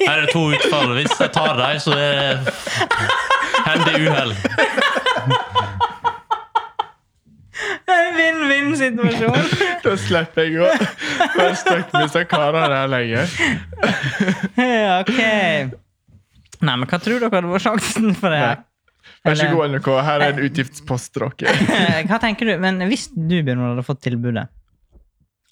Speaker 2: Her er to utfall. Hvis jeg tar dem, så er det hender uhell.
Speaker 3: [LAUGHS] Vinn-vinn-situasjon.
Speaker 1: [LAUGHS] da slipper jeg å være stuck med disse karene her lenger.
Speaker 3: Ja, ok. Nei, men hva tror dere hadde vært sjansen for det? her?
Speaker 1: Vær så god, NRK. Her er en utgiftspost til dere. [LAUGHS]
Speaker 3: Eh, [LAUGHS] Hva tenker du? Men hvis du, Bjørn Olav, hadde fått tilbudet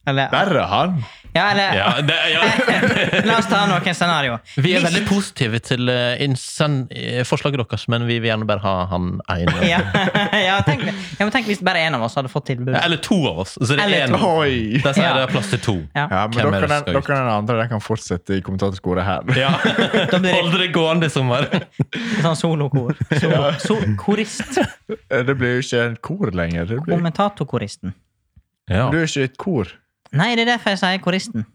Speaker 3: Eller,
Speaker 1: Der er han.
Speaker 3: ja, eller
Speaker 2: Ja, det, ja.
Speaker 3: [LAUGHS] La oss ta noen scenario.
Speaker 2: Vi er
Speaker 3: Hvis-
Speaker 2: veldig positive til eh, innsend, eh, forslaget deres, men vi vil gjerne bare ha han ene.
Speaker 3: [LAUGHS] ja, [LAUGHS] ja, tenk, ja, men tenk hvis bare en av oss hadde fått tilbudet.
Speaker 2: Eller to av oss. Så det
Speaker 3: Eller
Speaker 2: er en.
Speaker 1: Oi!
Speaker 2: Der sier
Speaker 3: Ja.
Speaker 2: det er plass til to.
Speaker 3: Ja.
Speaker 1: Ja, men dere
Speaker 2: Hvem er det
Speaker 1: den,
Speaker 2: som skal
Speaker 1: dere
Speaker 2: ut?
Speaker 1: den andre den kan fortsette i kommentatorskoret her.
Speaker 2: Ja.
Speaker 3: Da blir det
Speaker 2: Hold det gående i sommer.
Speaker 3: sånn solokor. Solo, so, korist.
Speaker 1: [LAUGHS] Det blir jo ikke en kor lenger. Det blir...
Speaker 3: Kommentatorkoristen.
Speaker 2: Ja.
Speaker 1: Du er ikke et kor.
Speaker 3: Nei, det er derfor jeg sier koristen.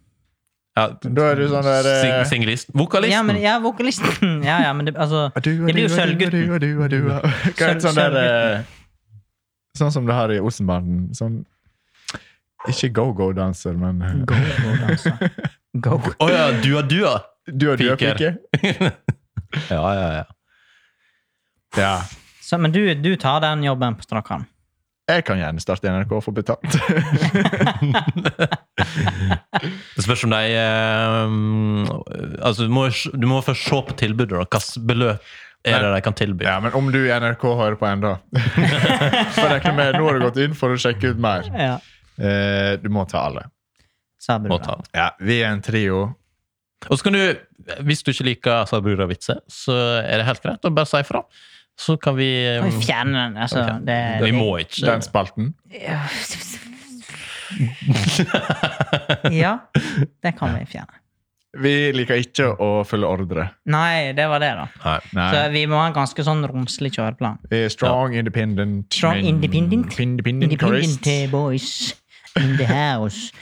Speaker 2: Ja.
Speaker 1: Da er du sånn der eh,
Speaker 2: Sing, singlist. Vokalisten.
Speaker 3: Ja, men, ja vokalisten. Ja, ja, men det, altså,
Speaker 1: Du og
Speaker 3: Det blir jo
Speaker 1: du og du og
Speaker 3: Sølvgutten.
Speaker 1: du og du og du og- [LAUGHS] Hva er det
Speaker 3: Sølv-
Speaker 1: sånn der eh, Sånn som det har i Olsenbanden. Sånn Ikke go-go-danser, men eh,
Speaker 3: Go, go, danse. Go.
Speaker 2: Å ja, dua dua.
Speaker 1: Du og du og
Speaker 2: Piker.
Speaker 1: pike.
Speaker 2: Ja, ja, ja.
Speaker 1: Ja.
Speaker 3: Så, men du, du tar den jobben på strak arm.
Speaker 1: Jeg kan gjerne starte i NRK og få
Speaker 2: [LAUGHS]
Speaker 1: betalt.
Speaker 2: [LAUGHS] Det spørs om de eh, altså, du, må, jo s- du må først se på tilbudet. da. Hvilket beløp er det de kan tilby?
Speaker 1: Ja, Men om du i NRK hører på ennå [LAUGHS] For jeg regner med nå har du gått inn for å sjekke ut mer.
Speaker 3: Ja.
Speaker 1: Eh, du må ta alle.
Speaker 3: Sa brura.
Speaker 2: Må ta.
Speaker 1: Ja, Vi er en trio.
Speaker 2: Og så kan du, Hvis du ikke liker Sa brura vitser, så er det helt greit å bare si ifra. Så kan vi eh,
Speaker 3: Kan vi fjerne den? Altså,
Speaker 2: Ok.
Speaker 3: det,
Speaker 2: Vi må ikke.
Speaker 1: Den spalten.
Speaker 3: Ja. [LAUGHS] ja, det kan vi fjerne.
Speaker 1: Vi liker ikke å følge ordre.
Speaker 3: Nei, det var det, da.
Speaker 2: [LAUGHS] Nei.
Speaker 3: Så
Speaker 1: Nei.
Speaker 3: vi må ha en ganske sånn romslig kjøreplan.
Speaker 1: Vi er strong, independent
Speaker 3: Strong,
Speaker 1: men-
Speaker 3: independent.
Speaker 1: independent,
Speaker 3: Independent
Speaker 1: chorist.
Speaker 3: boys. in the house.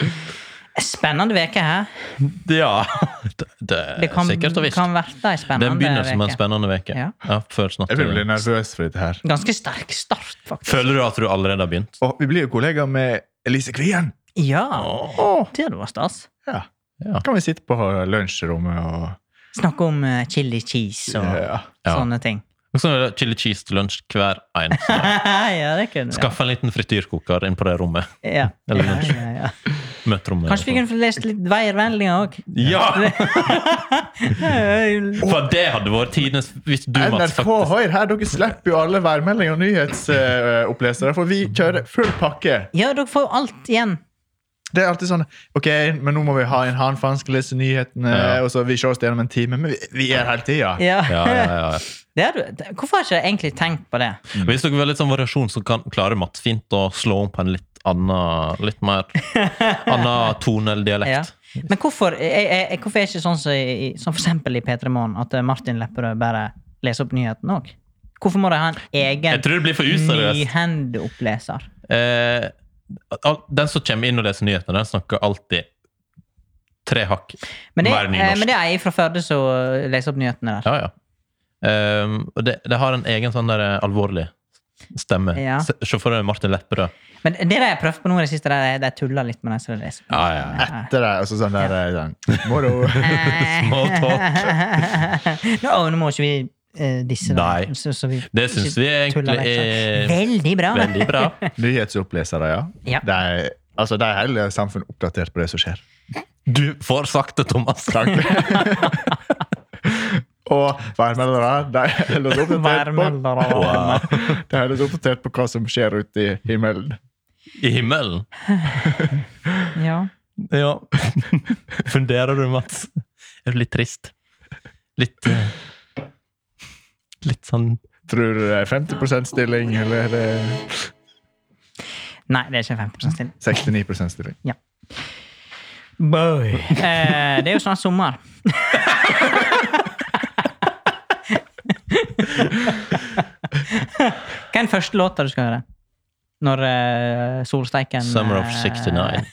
Speaker 3: Spennende uke her.
Speaker 2: Ja, [LAUGHS] det, det er
Speaker 3: Det kan,
Speaker 2: sikkert og visst.
Speaker 3: kan være ei
Speaker 2: Det er
Speaker 3: spennende
Speaker 2: en begynnelse med en
Speaker 3: uke.
Speaker 2: spennende uke.
Speaker 3: Ja.
Speaker 2: Ja, følelsen at
Speaker 1: Jeg begynner å bli
Speaker 2: du,
Speaker 1: nervøs for dette her.
Speaker 3: Ganske sterk start, faktisk.
Speaker 2: føler du at du allerede har begynt?
Speaker 1: Og vi blir jo kollegaer med Elise Kvien!
Speaker 3: Ja,
Speaker 2: Åh.
Speaker 1: Åh,
Speaker 3: det hadde vært stas.
Speaker 1: ja.
Speaker 2: Ja.
Speaker 1: Kan vi sitte på lunsjrommet og
Speaker 3: Snakke om eh, chili cheese og
Speaker 1: ja.
Speaker 2: Ja.
Speaker 3: sånne ting. [LAUGHS]
Speaker 2: Og så er det Chili cheese til lunsj hver eneste dag.
Speaker 3: ja, det kunne vi.
Speaker 2: Skaffe en liten frityrkoker inn på det rommet.
Speaker 3: Ja. Ja,
Speaker 2: Eller lunsj.
Speaker 3: ja, ja.
Speaker 2: Møterommet.
Speaker 3: Kanskje vi kunne få lest litt veiervendinger òg? [LAUGHS]
Speaker 2: Ja! [LAUGHS] For det hadde vært tidenes Hvis du, Mats,
Speaker 1: NRK
Speaker 2: faktisk
Speaker 1: Høyre her, dere slipper jo alle værmeldinger og nyhetsopplesere, for vi kjører full pakke.
Speaker 3: Ja, dere får jo alt igjen.
Speaker 1: Det er alltid sånn Ok, men nå må vi ha en han, for han skal lese nyhetene,
Speaker 2: Ja.
Speaker 1: og så vi ses gjennom en time. Men vi, vi er her hele tida.
Speaker 3: Ja.
Speaker 2: ja, ja, ja, ja.
Speaker 3: [LAUGHS] Det er, du- det- hvorfor har jeg ikke egentlig tenkt på det?
Speaker 2: Hvis dere vil ha litt sånn variasjon, så kan klarer Mats fint å slå om på en litt annen Litt
Speaker 3: [LAUGHS]
Speaker 2: mer annen tone eller
Speaker 3: Ja.
Speaker 2: dialekt.
Speaker 3: Men hvorfor, jeg, jeg, jeg- hvorfor er det ikke sånn som, i- i- som for eksempel i P3 Morgen, at eh, Martin Lepperød bare leser opp nyheten òg? Hvorfor må de ha en egen
Speaker 2: Jeg tror det blir for useriøst.
Speaker 3: nyhendoppleser?
Speaker 2: Eh, al- den som kommer inn og leser nyhetene, den snakker alltid tre hakk
Speaker 3: Men det,
Speaker 2: mer
Speaker 3: eh, men
Speaker 2: nynorsk.
Speaker 3: det er jeg fra Førde som eh, leser opp nyhetene der.
Speaker 2: Ja, ja. Ehm, og det, det har en egen sånn der eh, alvorlig stemme.
Speaker 3: Ja.
Speaker 2: Se se for deg Martin Lepperød.
Speaker 3: Men det de har prøvd på nå i det siste, de, de tuller litt med de som Eh. leser. opp
Speaker 2: Ja, ja, ja.
Speaker 3: nyhetene.
Speaker 1: Det der, og så sånn der sånn, Moro.
Speaker 2: [LAUGHS] Small
Speaker 3: [LAUGHS] Nå, nå må ikke vi eh, disse dem,
Speaker 2: Nei.
Speaker 3: så, så vi
Speaker 2: Det syns vi
Speaker 3: ikke tuller
Speaker 2: egentlig
Speaker 3: vekk,
Speaker 2: er
Speaker 3: sånn. Veldig bra!
Speaker 2: veldig
Speaker 3: [LAUGHS]
Speaker 2: bra.
Speaker 1: Nyhetsopplesere, ja.
Speaker 3: Ja.
Speaker 1: De, altså, de holder samfunnet oppdatert på det som skjer.
Speaker 2: Du får sagt det, Thomas.
Speaker 3: [LAUGHS]
Speaker 1: Og værmeldere, de holder oss oppdatert på
Speaker 3: Værmeldere.
Speaker 2: Wow.
Speaker 1: De holder oss oppdatert på hva som skjer ute i himmelen.
Speaker 2: I himmelen.
Speaker 3: Ja.
Speaker 2: Ja. [LAUGHS] Funderer du, Mats? Er du litt trist? Litt eh, Litt sånn
Speaker 1: Tror du det er 50 stilling, eller er det
Speaker 3: Nei, det er ikke 50 stilling.
Speaker 1: 69 stilling?
Speaker 3: Eh, det er jo snart sommer. Hva er den første låta du skal høre? Når eh, solsteiken eh,
Speaker 2: Summer of 69.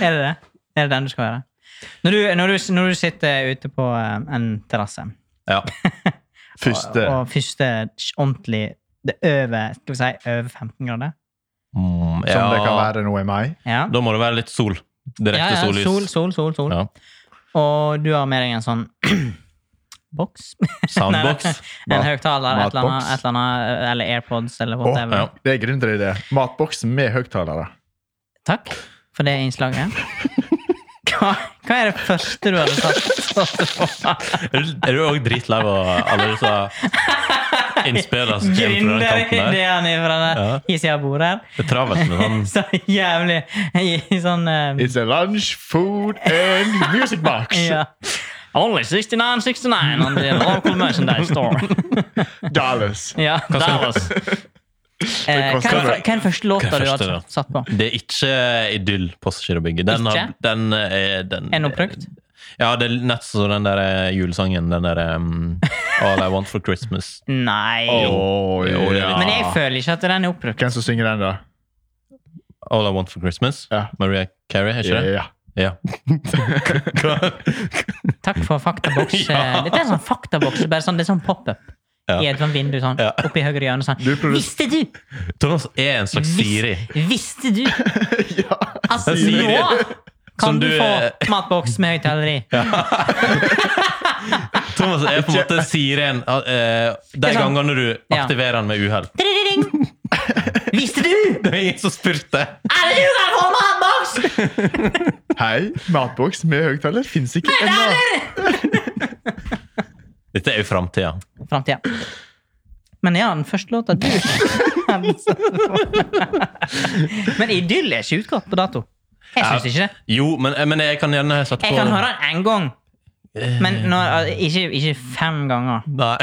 Speaker 3: Er det det? Er det den du skal høre? Når du, når du, når du sitter ute på eh, en terrasse,
Speaker 2: Ja.
Speaker 1: Første.
Speaker 3: og første ordentlig Det er over skal vi si, over 15 grader?
Speaker 1: Som
Speaker 2: Mm,
Speaker 1: det kan
Speaker 2: ja.
Speaker 1: være nå i mai.
Speaker 3: Ja.
Speaker 2: Da må det være litt sol. Direkte
Speaker 3: ja, ja,
Speaker 2: sollys.
Speaker 3: Sol, [LAUGHS] sol, sol, sol.
Speaker 2: Ja.
Speaker 3: Og du har med deg en sånn [CLEARS THROAT] boks.
Speaker 2: Soundbox.
Speaker 3: En
Speaker 1: Mat-
Speaker 3: høyttaler, et eller annet,
Speaker 1: matboks.
Speaker 3: et eller annet, eh, eller AirPods, eller
Speaker 1: Å,
Speaker 3: whatever.
Speaker 2: ja.
Speaker 1: Det er grunn til det. Matboksen med høyttalere.
Speaker 3: Takk for det
Speaker 2: [LAUGHS]
Speaker 3: innslaget. Hva, hva er det første du hadde tatt?
Speaker 2: Er du- er du òg dritlei av alle disse innspillene som kommer fra den
Speaker 3: Grinder
Speaker 2: kanten der?
Speaker 3: ideene fra
Speaker 2: Ja.
Speaker 3: den sida av bordet her.
Speaker 2: Det er travelt med sånn
Speaker 3: Så jævlig i sånn eh,
Speaker 1: It's a lunch, food and music box!
Speaker 3: [LAUGHS] ja. Only 6969 on the local merchandise store. [LAUGHS]
Speaker 1: Dollars.
Speaker 3: Ja,
Speaker 2: [LAUGHS]
Speaker 3: Dallas. Eh, Hva
Speaker 1: koster
Speaker 3: hva
Speaker 1: det?
Speaker 3: er den første
Speaker 2: Hva
Speaker 3: låta
Speaker 2: er
Speaker 3: du
Speaker 2: første
Speaker 3: har
Speaker 2: låt?
Speaker 3: satt på?
Speaker 2: Det er ikke idyll på Skirobygget. Den, har-
Speaker 3: Ikke?
Speaker 2: den er den,
Speaker 3: Er den oppbrukt?
Speaker 2: Ja, det er nett som den der eh, julesangen. Den der um, All I Want For Christmas.
Speaker 3: Nei.
Speaker 1: Å,
Speaker 2: Jo, det er
Speaker 1: Oh, ja.
Speaker 2: litt-
Speaker 3: Men jeg føler ikke at den er oppbrukt.
Speaker 1: Hvem som synger den, da?
Speaker 2: All I Want For Christmas.
Speaker 1: Ja.
Speaker 2: Maria Carey, er ikke det?
Speaker 1: Ja. [LAUGHS]
Speaker 2: Ja.
Speaker 3: Takk for faktaboks.
Speaker 2: [LAUGHS] Ja.
Speaker 3: Dette er en sånn faktaboks, bare sånn, det er sånn pop-up.
Speaker 2: Ja.
Speaker 3: I et sånt vindu sånn,
Speaker 2: Ja.
Speaker 3: oppi høyre hjørne sånn.
Speaker 1: Du produ-
Speaker 3: Visste du?
Speaker 2: [LAUGHS] Thomas er en slags Siri.
Speaker 3: Vis, visste du?
Speaker 1: ja.
Speaker 3: Altså,
Speaker 2: Siri.
Speaker 3: nå
Speaker 2: Som
Speaker 3: kan du
Speaker 2: du, eh,
Speaker 3: få matboks med høyttaler i.
Speaker 2: [LAUGHS] Thomas er på en måte Sirien eh, de
Speaker 3: er sant.
Speaker 2: gangene du
Speaker 3: Ja.
Speaker 2: aktiverer den med uhell.
Speaker 3: Dring! Visste du?
Speaker 2: Det er ingen som spurte!
Speaker 3: Alle du kan få matboks!
Speaker 1: Hei, matboks med høyttaler fins ikke ennå.
Speaker 2: Dette er jo framtida.
Speaker 3: Framtida. Men ja, den første låta du [LAUGHS] Men idyll er ikke utgått på dato. Jeg syns ikke det.
Speaker 2: Jo, men, eh, men jeg kan gjerne sette på Eh.
Speaker 3: Jeg kan høre den én gang, men når, ikke, ikke fem ganger.
Speaker 2: Nei.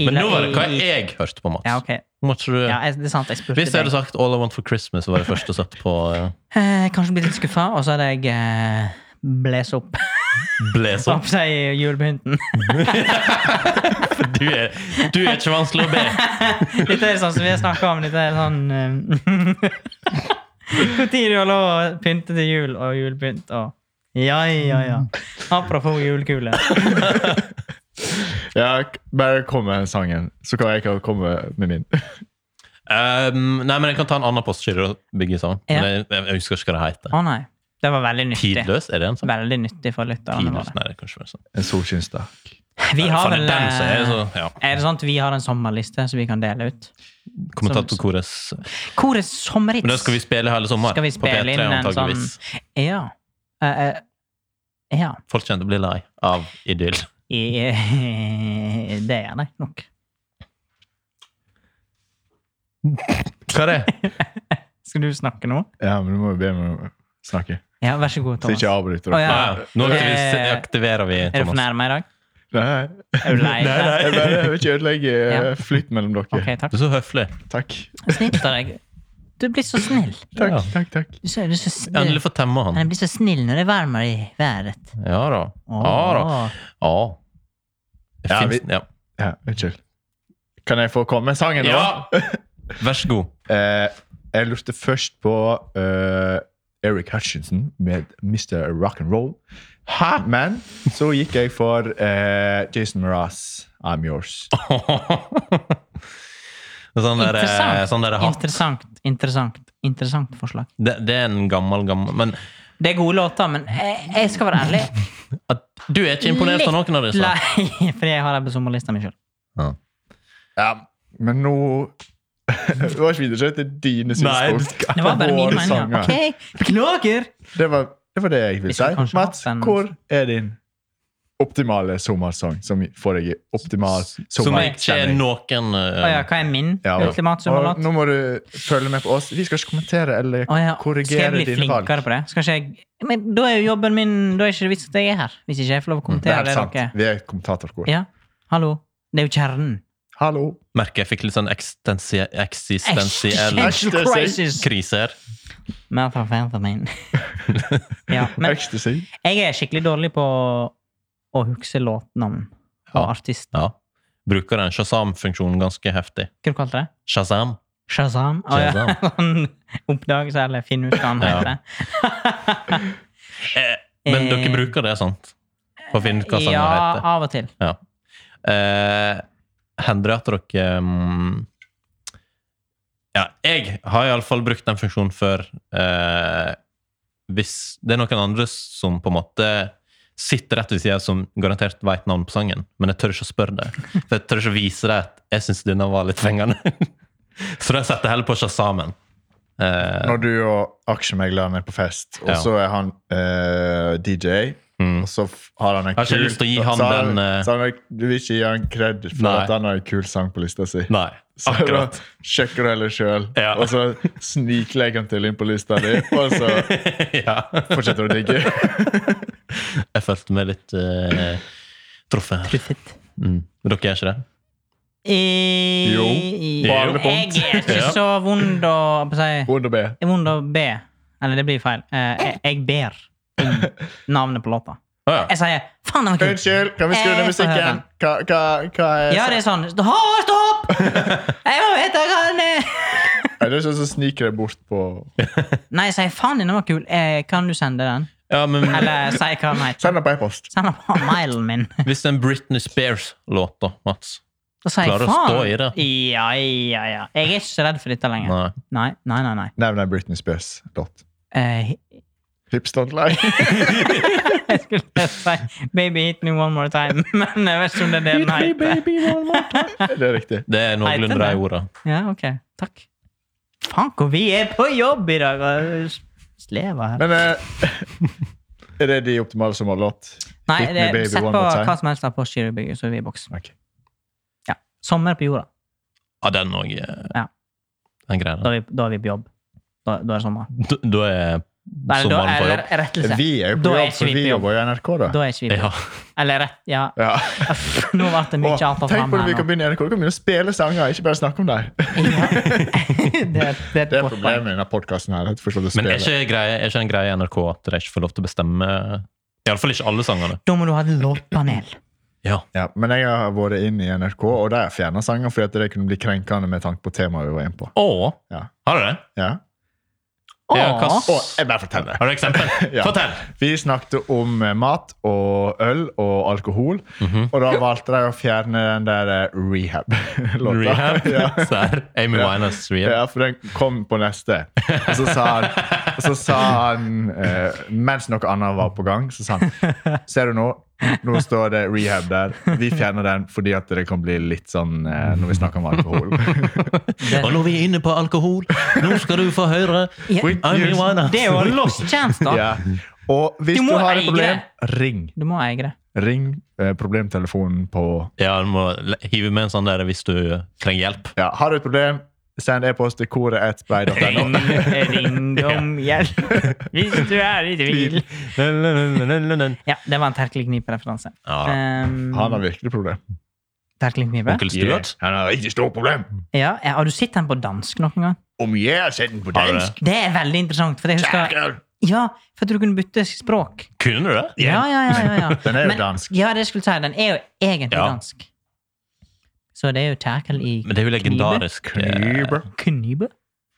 Speaker 3: I-
Speaker 2: Men nå var det hva
Speaker 3: i-
Speaker 2: jeg hørte på, Mats.
Speaker 3: Ja, ok.
Speaker 2: Må ikke du...
Speaker 3: Ja, jeg- det er sant. Jeg spurte
Speaker 2: Hvis jeg hadde
Speaker 3: deg.
Speaker 2: sagt All I Want For Christmas, var det første jeg satte på eh,
Speaker 3: Eh, kanskje blitt litt skuffa, og så hadde jeg eh, blæs opp.
Speaker 2: Bles
Speaker 3: Som [LAUGHS]
Speaker 2: opp.
Speaker 3: seg i [LAUGHS] julebynten.
Speaker 2: Du er, du er ikke vanskelig å be.
Speaker 3: Dette er sånn som vi har snakket om. Dette er sånn eh, [LAUGHS] Hvor tid du har lov å pynte til jul og julepynt og Ja, ja, ja. Apropos julekule.
Speaker 1: Ja, k- bare kom med sangen, så kan jeg ikke komme med min.
Speaker 2: Um, nei, men jeg kan ta en annen postkilde og bygge sammen.
Speaker 3: Ja.
Speaker 2: Men Jeg, jeg husker ikke hva det heter.
Speaker 3: Å nei. Det var veldig nyttig.
Speaker 2: Tidløs, er det en sånn?
Speaker 3: Veldig nyttig for lytterne
Speaker 2: Tidløs,
Speaker 3: våre.
Speaker 2: nei, det kan ikke være sånn.
Speaker 1: En solskinnsdag.
Speaker 3: Vi har
Speaker 2: Faen,
Speaker 3: vel
Speaker 2: den som er
Speaker 3: eh,
Speaker 2: så, ja.
Speaker 3: Er det sånn at vi har en sommerliste som vi kan dele ut?
Speaker 2: Kommentatorkores.
Speaker 3: Hvor er sommerhits?
Speaker 2: Men da skal vi spille hele sommeren.
Speaker 3: Skal vi
Speaker 2: på
Speaker 3: spille
Speaker 2: P3,
Speaker 3: inn en sånn-
Speaker 2: antageligvis.
Speaker 3: Ja. Eh, eh, ja.
Speaker 2: Folk kjente å bli lei av idyll.
Speaker 3: I- eh, [LAUGHS] Det er det nok.
Speaker 2: Hva er det?
Speaker 3: Skal du snakke nå?
Speaker 1: Ja, men du må jo be meg å snakke.
Speaker 3: Ja, vær så god,
Speaker 1: Så
Speaker 3: Thomas.
Speaker 1: ikke jeg avbryter
Speaker 3: Å,
Speaker 1: dere.
Speaker 2: Ja,
Speaker 3: ja.
Speaker 2: ja. Nå aktivis-
Speaker 3: Eh,
Speaker 2: aktiverer vi
Speaker 3: Er du
Speaker 2: Thomas.
Speaker 3: fornærma i dag?
Speaker 1: [LAUGHS] Nei,
Speaker 3: Er du lei
Speaker 2: Nei,
Speaker 1: jeg
Speaker 3: deg?
Speaker 1: bare jeg vil ikke ødelegge eh,
Speaker 3: [LAUGHS] Ja.
Speaker 1: flyt mellom dere.
Speaker 3: Ok, takk.
Speaker 2: Du er så høflig.
Speaker 1: Takk.
Speaker 3: Snill av deg. Du blir så snill.
Speaker 1: Takk,
Speaker 2: Ja.
Speaker 1: takk, takk.
Speaker 3: Du, ser- du, ser s-
Speaker 2: Endelig
Speaker 3: du,
Speaker 2: få temma han.
Speaker 3: han blir så snill når det er varmere i været.
Speaker 2: Ja da.
Speaker 3: Åh.
Speaker 2: Ja da. Ja. Det
Speaker 1: Ja,
Speaker 2: finnes- ja.
Speaker 1: Ja, unnskyld. Kan jeg få komme med sangen nå?
Speaker 2: ja. Vær så god.
Speaker 1: Eh, jeg lurte først på eh, Eric Hutchinson med Mr. Rock'n'Roll. Hæ? Men så gikk jeg for eh, Jason Mraz, I'm Yours.
Speaker 2: sånn der, eh,
Speaker 3: Interessant.
Speaker 2: sånn der hatt.
Speaker 3: Interessant, interessant, interessant forslag.
Speaker 2: Det, det er en gammel, gammel Men
Speaker 3: Det er gode låter, men jeg, jeg skal være ærlig. [LAUGHS]
Speaker 2: at, du er ikke imponert av noen av disse?
Speaker 3: Lei, [LAUGHS] fordi jeg har dem på sommerlista mi sjøl.
Speaker 1: Ja, men nå [LAUGHS] Det var ikke videre til dine synspunkt.
Speaker 3: Det
Speaker 1: [LAUGHS]
Speaker 3: var bare
Speaker 1: Våre
Speaker 3: min mening.
Speaker 1: sanger.
Speaker 3: ja. Ok, beklager!
Speaker 1: Det, var, det var det jeg
Speaker 3: Vi
Speaker 1: ville
Speaker 3: skal kanskje
Speaker 1: si. Mats,
Speaker 3: hatt en-
Speaker 1: hvor er din optimale sommersang som får deg i optimal
Speaker 2: Som ikke er
Speaker 1: sommerstemning?
Speaker 2: noen eh,
Speaker 3: Å ja, hva er min
Speaker 1: Ja, og-
Speaker 3: ultimate
Speaker 1: og
Speaker 3: sommerlåt?
Speaker 1: nå må du følge med på oss. Vi skal ikke kommentere eller
Speaker 3: Å ja, Skal jeg
Speaker 1: korrigere
Speaker 3: bli
Speaker 1: dine valg.
Speaker 3: flinkere på det? Skal ikke jeg... Men da er jo jobben min Da er ikke det vits at jeg er her, hvis ikke jeg får lov å
Speaker 1: Det er
Speaker 3: kommentere
Speaker 1: helt
Speaker 3: det
Speaker 1: sant.
Speaker 3: dere
Speaker 1: Vi er et kommentatorkor.
Speaker 3: Ja, hallo. Det er jo kjernen.
Speaker 1: Hallo.
Speaker 2: Merker jeg fikk litt sånn eksistensie- eksistensiell
Speaker 3: Existential crisis.
Speaker 2: krise her.
Speaker 3: Mer fra fandommen. ja, men
Speaker 1: Ecstasy.
Speaker 3: jeg er skikkelig dårlig på å huske låtnavn og
Speaker 2: Ja.
Speaker 3: artist.
Speaker 2: Ja. Bruker den Shazam-funksjonen ganske heftig.
Speaker 3: Hva du kalte du det?
Speaker 2: Shazam.
Speaker 3: Shazam? Å, ja. [LAUGHS] Sånn Oppdagelse, eller finn ut hva han
Speaker 2: Ja.
Speaker 3: heter.
Speaker 2: Eh, men
Speaker 3: Eh.
Speaker 2: dere bruker det, sant? For å finne ut hva sangen
Speaker 3: ja,
Speaker 2: heter.
Speaker 3: av og til.
Speaker 2: Ja. Eh, Hender det at dere mm, Ja, jeg har iallfall brukt den funksjonen før. Eh, hvis det er noen andre som på en måte sitter rett ved sida, som garantert veit navnet på sangen, men jeg tør ikke å spørre deg. For jeg tør ikke å vise deg at jeg syns denne var litt fengende. [LAUGHS] Så da setter jeg heller på Shazamen. Eh,
Speaker 1: Når du og aksjemegleren er på fest, og
Speaker 2: Ja.
Speaker 1: så er han eh, DJ,
Speaker 2: mm.
Speaker 1: og så f- har han en
Speaker 2: Har ikke lyst til å gi han
Speaker 1: så har-
Speaker 2: den, eh,
Speaker 1: så har han- Du vil ikke gi han kred for
Speaker 2: Nei.
Speaker 1: at han har en kul sang på lista si.
Speaker 2: Nei,
Speaker 1: Så da
Speaker 2: akkurat.
Speaker 1: sjekker du heller sjøl,
Speaker 2: Ja.
Speaker 1: og så sniklegger han til inn på lista di, og så
Speaker 2: altså- [LAUGHS] ja.
Speaker 1: fortsetter du å digge.
Speaker 2: [LAUGHS] Jeg følte meg litt eh, truffet her.
Speaker 3: Truffet.
Speaker 2: Mm. Men dere er ikke det?
Speaker 3: I,
Speaker 1: Jo,
Speaker 3: i-
Speaker 1: på alle punkt.
Speaker 3: Jeg er ikke
Speaker 2: Ja.
Speaker 3: så vond å på å si,
Speaker 1: Vond å be.
Speaker 3: Det er vond å be. Eller det blir feil. Eh, jeg, jeg ber om navnet på låta.
Speaker 2: Å, ja.
Speaker 3: Jeg sier 'faen, den var kul'.
Speaker 1: Unnskyld, kan vi skru ned
Speaker 3: Eh,
Speaker 1: musikken? Hva, hva, hva er
Speaker 3: Ja, det er sånn Hå, stopp! Jeg må vite hva den er!
Speaker 1: Er det sånn som sniker deg bort på
Speaker 3: Nei, jeg sier 'faen, den var kul'. Eh, kan du sende den?
Speaker 2: Ja, men
Speaker 3: Eller si hva den heter.
Speaker 1: Send det på e-post.
Speaker 3: Send den på mailen min.
Speaker 2: Hvis det er en Britney Spears-låt, da, Mats
Speaker 3: Da sier jeg
Speaker 2: Klarer å
Speaker 3: faen.
Speaker 2: stå i det.
Speaker 3: Ja, ja, ja. Jeg er ikke så redd for dette lenger.
Speaker 2: Nei.
Speaker 3: Nei, nei, nei. nei.
Speaker 1: Nevn en Britney Spears-låt.
Speaker 3: Eh,
Speaker 1: Hips don't lie.
Speaker 3: jeg skulle til å si 'Baby hit me one more time', [LAUGHS] men jeg vet ikke om det er det den
Speaker 1: [LAUGHS]
Speaker 3: heter.
Speaker 1: det er riktig.
Speaker 2: Det er noenlunde
Speaker 3: Heter
Speaker 2: de
Speaker 3: det?
Speaker 2: ordene.
Speaker 3: Ja, ok. Takk. Faen, hvor vi er på jobb i dag! og Slever her.
Speaker 1: Men eh, er det de optimale som har låt?
Speaker 3: Nei,
Speaker 1: Hit me,
Speaker 3: det,
Speaker 1: baby,
Speaker 3: sett på
Speaker 1: one more time.
Speaker 3: hva som helst av Postgirobygget, så er vi i boks.
Speaker 1: Ok.
Speaker 3: Ja. Sommer på jorda.
Speaker 2: Ja, den òg
Speaker 3: Ja.
Speaker 2: Den greia
Speaker 3: Da
Speaker 2: der.
Speaker 3: er vi, da er vi på jobb. Da, da er det sommer.
Speaker 2: Da da er
Speaker 3: Eller, da,
Speaker 2: sommeren på
Speaker 3: eller
Speaker 2: jobb.
Speaker 3: rettelse.
Speaker 1: Vi er jo
Speaker 3: Da
Speaker 1: på
Speaker 3: er
Speaker 1: jobb,
Speaker 3: ikke
Speaker 1: for
Speaker 3: vi på
Speaker 1: vi
Speaker 3: jobb.
Speaker 1: jobber jo i NRK, da.
Speaker 3: Da er ikke vi på
Speaker 2: Ja. [LAUGHS]
Speaker 3: jobb. Eller rett, ja.
Speaker 1: Ja.
Speaker 3: Uff, Nå ble det mye
Speaker 1: Og,
Speaker 3: annet
Speaker 1: tenk
Speaker 3: fram
Speaker 1: på det, vi
Speaker 3: her
Speaker 1: kan
Speaker 3: nå.
Speaker 1: begynne i NRK. Vi kan begynne å spille sanger, ikke bare snakke om
Speaker 3: [LAUGHS]
Speaker 1: dem.
Speaker 3: Det er, det er et
Speaker 1: Det er
Speaker 3: godt poeng.
Speaker 1: problemet med denne podkasten.
Speaker 2: Men er ikke, greie, er ikke en greie i NRK at de ikke får lov til å bestemme Iallfall ikke alle sangene.
Speaker 3: Da må du ha et låtpanel.
Speaker 2: Ja.
Speaker 1: Ja, men jeg har vært inn i NRK, og der fjerna sanger fordi at det kunne bli krenkende med tanke på temaet vi var inne på.
Speaker 2: Å,
Speaker 1: Ja.
Speaker 2: har du det?
Speaker 1: Ja.
Speaker 2: Ja, hva s-
Speaker 3: Åh,
Speaker 1: Og jeg bare forteller.
Speaker 2: Har du eksempel? [LAUGHS]
Speaker 1: Ja.
Speaker 2: Fortell!
Speaker 1: Vi snakket om eh, mat og øl og alkohol,
Speaker 2: Mhm.
Speaker 1: og da valgte de å fjerne den der eh, rehab-låta. [LAUGHS]
Speaker 2: Rehab.
Speaker 1: Ja.
Speaker 2: [LAUGHS] Sær. Amy
Speaker 1: Ja.
Speaker 2: Winehouse rehab.
Speaker 1: ja, for den kom på neste. Og så sa han, og så sa han eh, mens noe annet var på gang, så sa han Ser du nå? Nå står det rehab der. Vi fjerner den fordi at det kan bli litt sånn eh, når vi snakker om alkohol.
Speaker 2: Og når vi er inne på alkohol, nå skal du få høre
Speaker 3: Ja.
Speaker 2: Amy Winehouse.
Speaker 3: Det er jo en lost chance, da.
Speaker 1: Ja. Og hvis
Speaker 3: Du
Speaker 1: du,
Speaker 3: må
Speaker 1: har
Speaker 3: eie
Speaker 1: et problem, ring.
Speaker 3: Du må eie det.
Speaker 1: Ring eh, problemtelefonen på
Speaker 2: Ja, du må le- hive med en sånn der hvis du eh, trenger hjelp.
Speaker 1: ja, Har du et problem, send e-post til koret1blei.no.
Speaker 3: Ring, ring om hjelp hvis du er i tvil.
Speaker 2: Onkel
Speaker 3: Ja, det var en terkelknipe-referanse.
Speaker 2: Ja.
Speaker 3: Um,
Speaker 1: Han har virkelig problem.
Speaker 3: Terkelknipe?
Speaker 2: Stuart?
Speaker 1: Han har ikke stort problem.
Speaker 3: Ja, ja, har du sett den på dansk noen gang?
Speaker 1: Om jeg har sett den på
Speaker 2: Har du
Speaker 1: dansk
Speaker 3: Det er veldig interessant. For jeg husker,
Speaker 1: Jækel!
Speaker 3: ja, for at du kunne bytte språk.
Speaker 2: Kunne du det?
Speaker 3: Ja, ja, ja. ja, ja.
Speaker 1: Den er jo
Speaker 3: Men-
Speaker 1: dansk.
Speaker 3: Ja, det skulle jeg si. Den er jo egentlig
Speaker 2: Ja.
Speaker 3: dansk. Så det er jo terkel i
Speaker 2: Men det er jo legendarisk. eh,
Speaker 1: Knibe.
Speaker 3: knibe.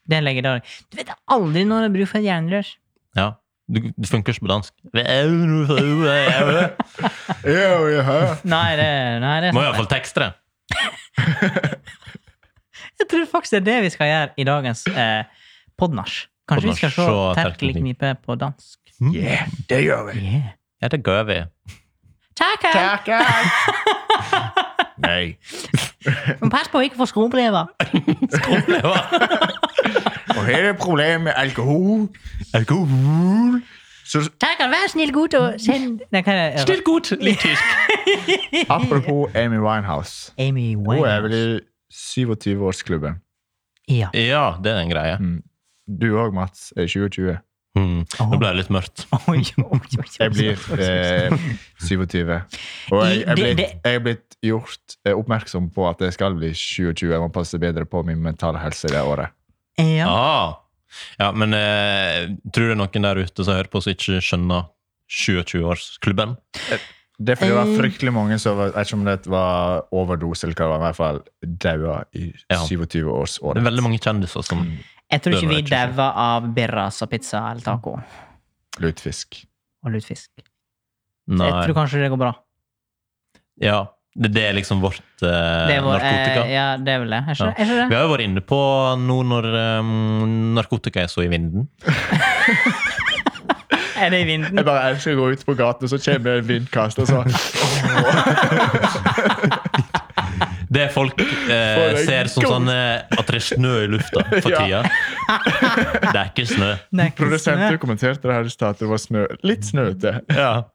Speaker 3: Det er legendarisk. Du vet aldri når det er bruk for et jernrør.
Speaker 2: Ja. Du, du funker ikke på dansk. Må
Speaker 1: Jo, jo, hæ?
Speaker 3: Nei, det, nei, det er
Speaker 2: i hvert fall tekste det.
Speaker 3: Jeg tror faktisk det er det vi skal gjøre i dagens eh, podnasj. Kanskje vi skal se
Speaker 2: Podnasj, så
Speaker 3: terkelknipe på dansk.
Speaker 1: Yeah, det gjør vi.
Speaker 3: Yeah.
Speaker 2: Ja, det gør vi.
Speaker 3: Terkel!
Speaker 1: Jækel! Nei.
Speaker 3: Men pass på å ikke få skrobrever.
Speaker 2: Skrubblever.
Speaker 1: Og her er problemet med alkohol. Alkohol? Så
Speaker 3: Terkel, vær snill god og send Nei, hva er det?
Speaker 2: Still godt. Litt tysk.
Speaker 1: apropos Amy Winehouse.
Speaker 3: Amy
Speaker 1: Hun er vel
Speaker 3: Winehouse.
Speaker 1: i 27-årsklubben.
Speaker 3: Ja.
Speaker 2: Ja, det er en greie.
Speaker 1: Du òg, Mats, er 2020.
Speaker 2: Mm. Nå ble det litt mørkt.
Speaker 3: Oi, oi, oi, oi.
Speaker 1: Jeg
Speaker 2: [LAUGHS]
Speaker 1: blir eh, 27. Og jeg, jeg, er
Speaker 3: Det-
Speaker 1: blitt,
Speaker 3: det-
Speaker 1: jeg er blitt gjort eh, oppmerksom på at jeg skal bli 27. Jeg må passe bedre på min mentale helse det året.
Speaker 3: Ja.
Speaker 2: Ah. Ja, men eh, tror du det er noen der ute som hører på som ikke skjønner 27-årsklubben?
Speaker 1: Det er fordi det var
Speaker 3: Eh.
Speaker 1: fryktelig mange som var, jeg vet ikke om det var overdose eller hva det var, i hvert fall daua i
Speaker 2: Ja.
Speaker 1: 27-årsåret.
Speaker 2: Det er veldig mange kjendiser
Speaker 1: Mm,
Speaker 2: som
Speaker 3: Jeg tror
Speaker 2: Det
Speaker 3: ikke
Speaker 2: var
Speaker 3: vi
Speaker 2: ikke sant.
Speaker 3: dauer av birras og pizza eller taco
Speaker 1: Lutfisk.
Speaker 3: og lutefisk. Så
Speaker 2: Nei.
Speaker 3: Jeg tror kanskje det går bra.
Speaker 2: Ja. Det, det er liksom vårt eh,
Speaker 3: Det er vår-
Speaker 2: narkotika.
Speaker 3: eh, ja, det er vel det. Er ikke
Speaker 2: Ja.
Speaker 3: det? Er ikke
Speaker 2: Vi
Speaker 3: det?
Speaker 2: har jo vært inne på nå når eh, narkotika er så i vinden.
Speaker 3: Er det i vinden?
Speaker 1: Jeg bare elsker å gå ut på gaten, og så kommer det en vindkast,
Speaker 2: [LAUGHS]
Speaker 1: og så
Speaker 2: Det folk eh,
Speaker 1: For en
Speaker 2: ser som
Speaker 1: god-
Speaker 2: sånn eh, at det er snø i lufta
Speaker 1: [LAUGHS]
Speaker 2: for tida.
Speaker 3: [LAUGHS]
Speaker 1: Ja.
Speaker 2: Det er ikke snø.
Speaker 3: Det er ikke snø.
Speaker 1: Produsenter kommenterte det her i stad, at det var snø. litt snøete.
Speaker 2: Ja.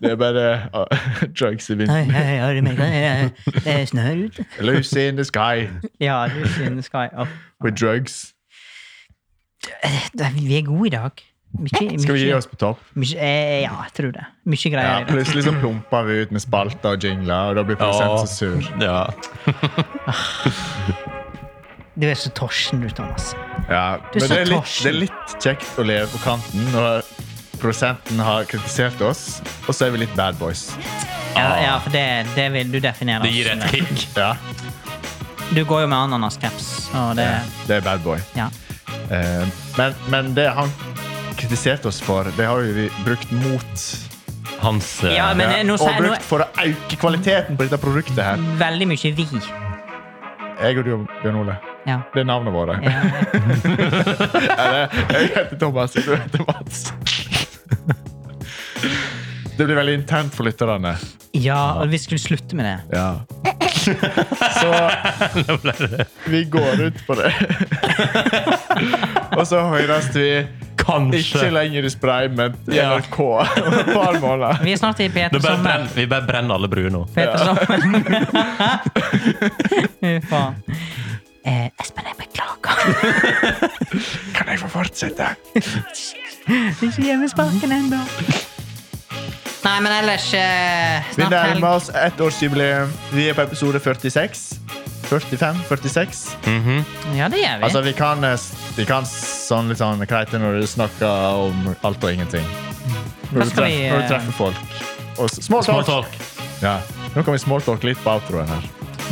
Speaker 1: Det er bare ah, [LAUGHS] drugs i vinden.
Speaker 3: Hei, hei, har du merket det? Det er snø her ute.
Speaker 1: Lucy in the sky
Speaker 3: Ja, du synes skal jeg opp.
Speaker 1: with drugs.
Speaker 3: Det- Vi er gode i dag. Mykje-
Speaker 1: Skal vi gi
Speaker 3: mykje-
Speaker 1: oss på topp?
Speaker 3: mykje- eh, Ja, jeg tror det. Mye
Speaker 1: Ja,
Speaker 3: greier. i dag.
Speaker 1: plutselig så plumper vi ut med spalter og jingler, og da blir produsenten så sur.
Speaker 2: ja.
Speaker 3: Du er så torsen, du, Thomas.
Speaker 1: Ja,
Speaker 3: Du
Speaker 1: men
Speaker 3: sa
Speaker 1: det er, litt,
Speaker 3: torsen.
Speaker 1: det er litt kjekt å leve på kanten når produsenten har kritisert oss, og så er vi litt bad boys.
Speaker 3: Ja,
Speaker 1: Ah.
Speaker 3: ja for det, det vil du definere.
Speaker 2: Det gir et
Speaker 3: oss med.
Speaker 2: kick.
Speaker 1: Ja,
Speaker 3: Du går jo med ananascaps, og det
Speaker 1: det er bad boy.
Speaker 3: Ja.
Speaker 1: Eh, Men, men det han kritiserte oss for, det har jo vi brukt mot.
Speaker 2: Hans eh,
Speaker 3: Ja, men eh, nå
Speaker 1: og
Speaker 3: sier
Speaker 1: brukt
Speaker 3: nå-
Speaker 1: for å øke kvaliteten på dette produktet her.
Speaker 3: Veldig mye vi.
Speaker 1: Jeg og du, Bjørn Ole.
Speaker 3: Ja.
Speaker 1: Det er navnet våre. [LAUGHS]
Speaker 3: ja.
Speaker 1: Eller, Jeg heter Thomas, og du heter Mats. Det blir veldig internt for lytterne.
Speaker 3: Ja, og vi skulle slutte med det.
Speaker 1: Ja. [LAUGHS] Så vi går ut på [LAUGHS] det. Og så høres vi ikke
Speaker 2: Kanskje.
Speaker 1: lenger i Spray, men i
Speaker 2: Ja.
Speaker 1: NRK om et par måneder.
Speaker 3: Vi er snart i Peter
Speaker 2: Det bare
Speaker 3: Sommer.
Speaker 2: brenner, vi bare brenner alle bruer nå.
Speaker 3: Peter
Speaker 1: [LAUGHS]
Speaker 3: Sommer. Fy faen. Eh, Espen, jeg
Speaker 1: [LAUGHS]
Speaker 3: beklager.
Speaker 1: Kan jeg få fortsette?
Speaker 3: Ikke hjemmesparken ennå. Nei, men ellers eh,
Speaker 1: Vi
Speaker 3: Snart helg.
Speaker 1: nærmer oss ettårsjubileum. Vi er på episode 46. 45? 46?
Speaker 2: Mhm.
Speaker 3: Ja, det gjør vi.
Speaker 1: Altså, vi kan, eh, vi kan sånn litt sånn kreite når du snakker om alt og ingenting.
Speaker 3: Hva
Speaker 1: når du
Speaker 3: Mm. skal vi,
Speaker 1: treffer, når
Speaker 3: eh,
Speaker 1: du treffer folk. Og s- small
Speaker 2: Small
Speaker 1: talk.
Speaker 2: talk.
Speaker 1: Ja. Nå kan vi small talk litt på outroen her.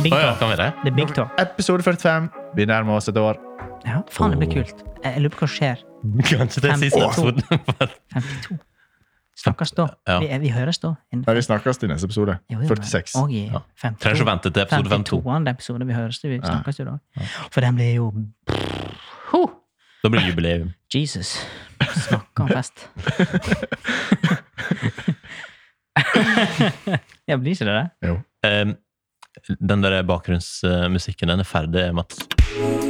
Speaker 3: Big
Speaker 2: Å ja,
Speaker 3: talk.
Speaker 2: kan vi det?
Speaker 3: Det er big talk.
Speaker 1: Episode 45. Vi nærmer oss et år.
Speaker 3: Ja, faen, det blir kult. Jeg jeg lurer på hva skjer.
Speaker 2: Kanskje det er siste
Speaker 3: Fem-
Speaker 2: episoden. [LAUGHS]
Speaker 3: 52. Snakkes da.
Speaker 2: Ja.
Speaker 3: Vi, vi høres da. En-
Speaker 1: Ja, vi snakkes til neste episode.
Speaker 3: Jo, jo, men-
Speaker 1: 46.
Speaker 3: Og i
Speaker 2: Ja.
Speaker 3: 52.
Speaker 2: Trenger ikke å vente til episode 52.
Speaker 3: 52. episode vi høres. Vi snakkes jo da. For den blir jo Huh.
Speaker 2: Da blir det jubileum.
Speaker 3: Jesus. Snakker om
Speaker 2: [LAUGHS]
Speaker 3: fest. [LAUGHS] ja, blir ikke det det?
Speaker 1: Jo.
Speaker 2: Ehm, Eh, den der bakgrunnsmusikken, den er ferdig, Mats.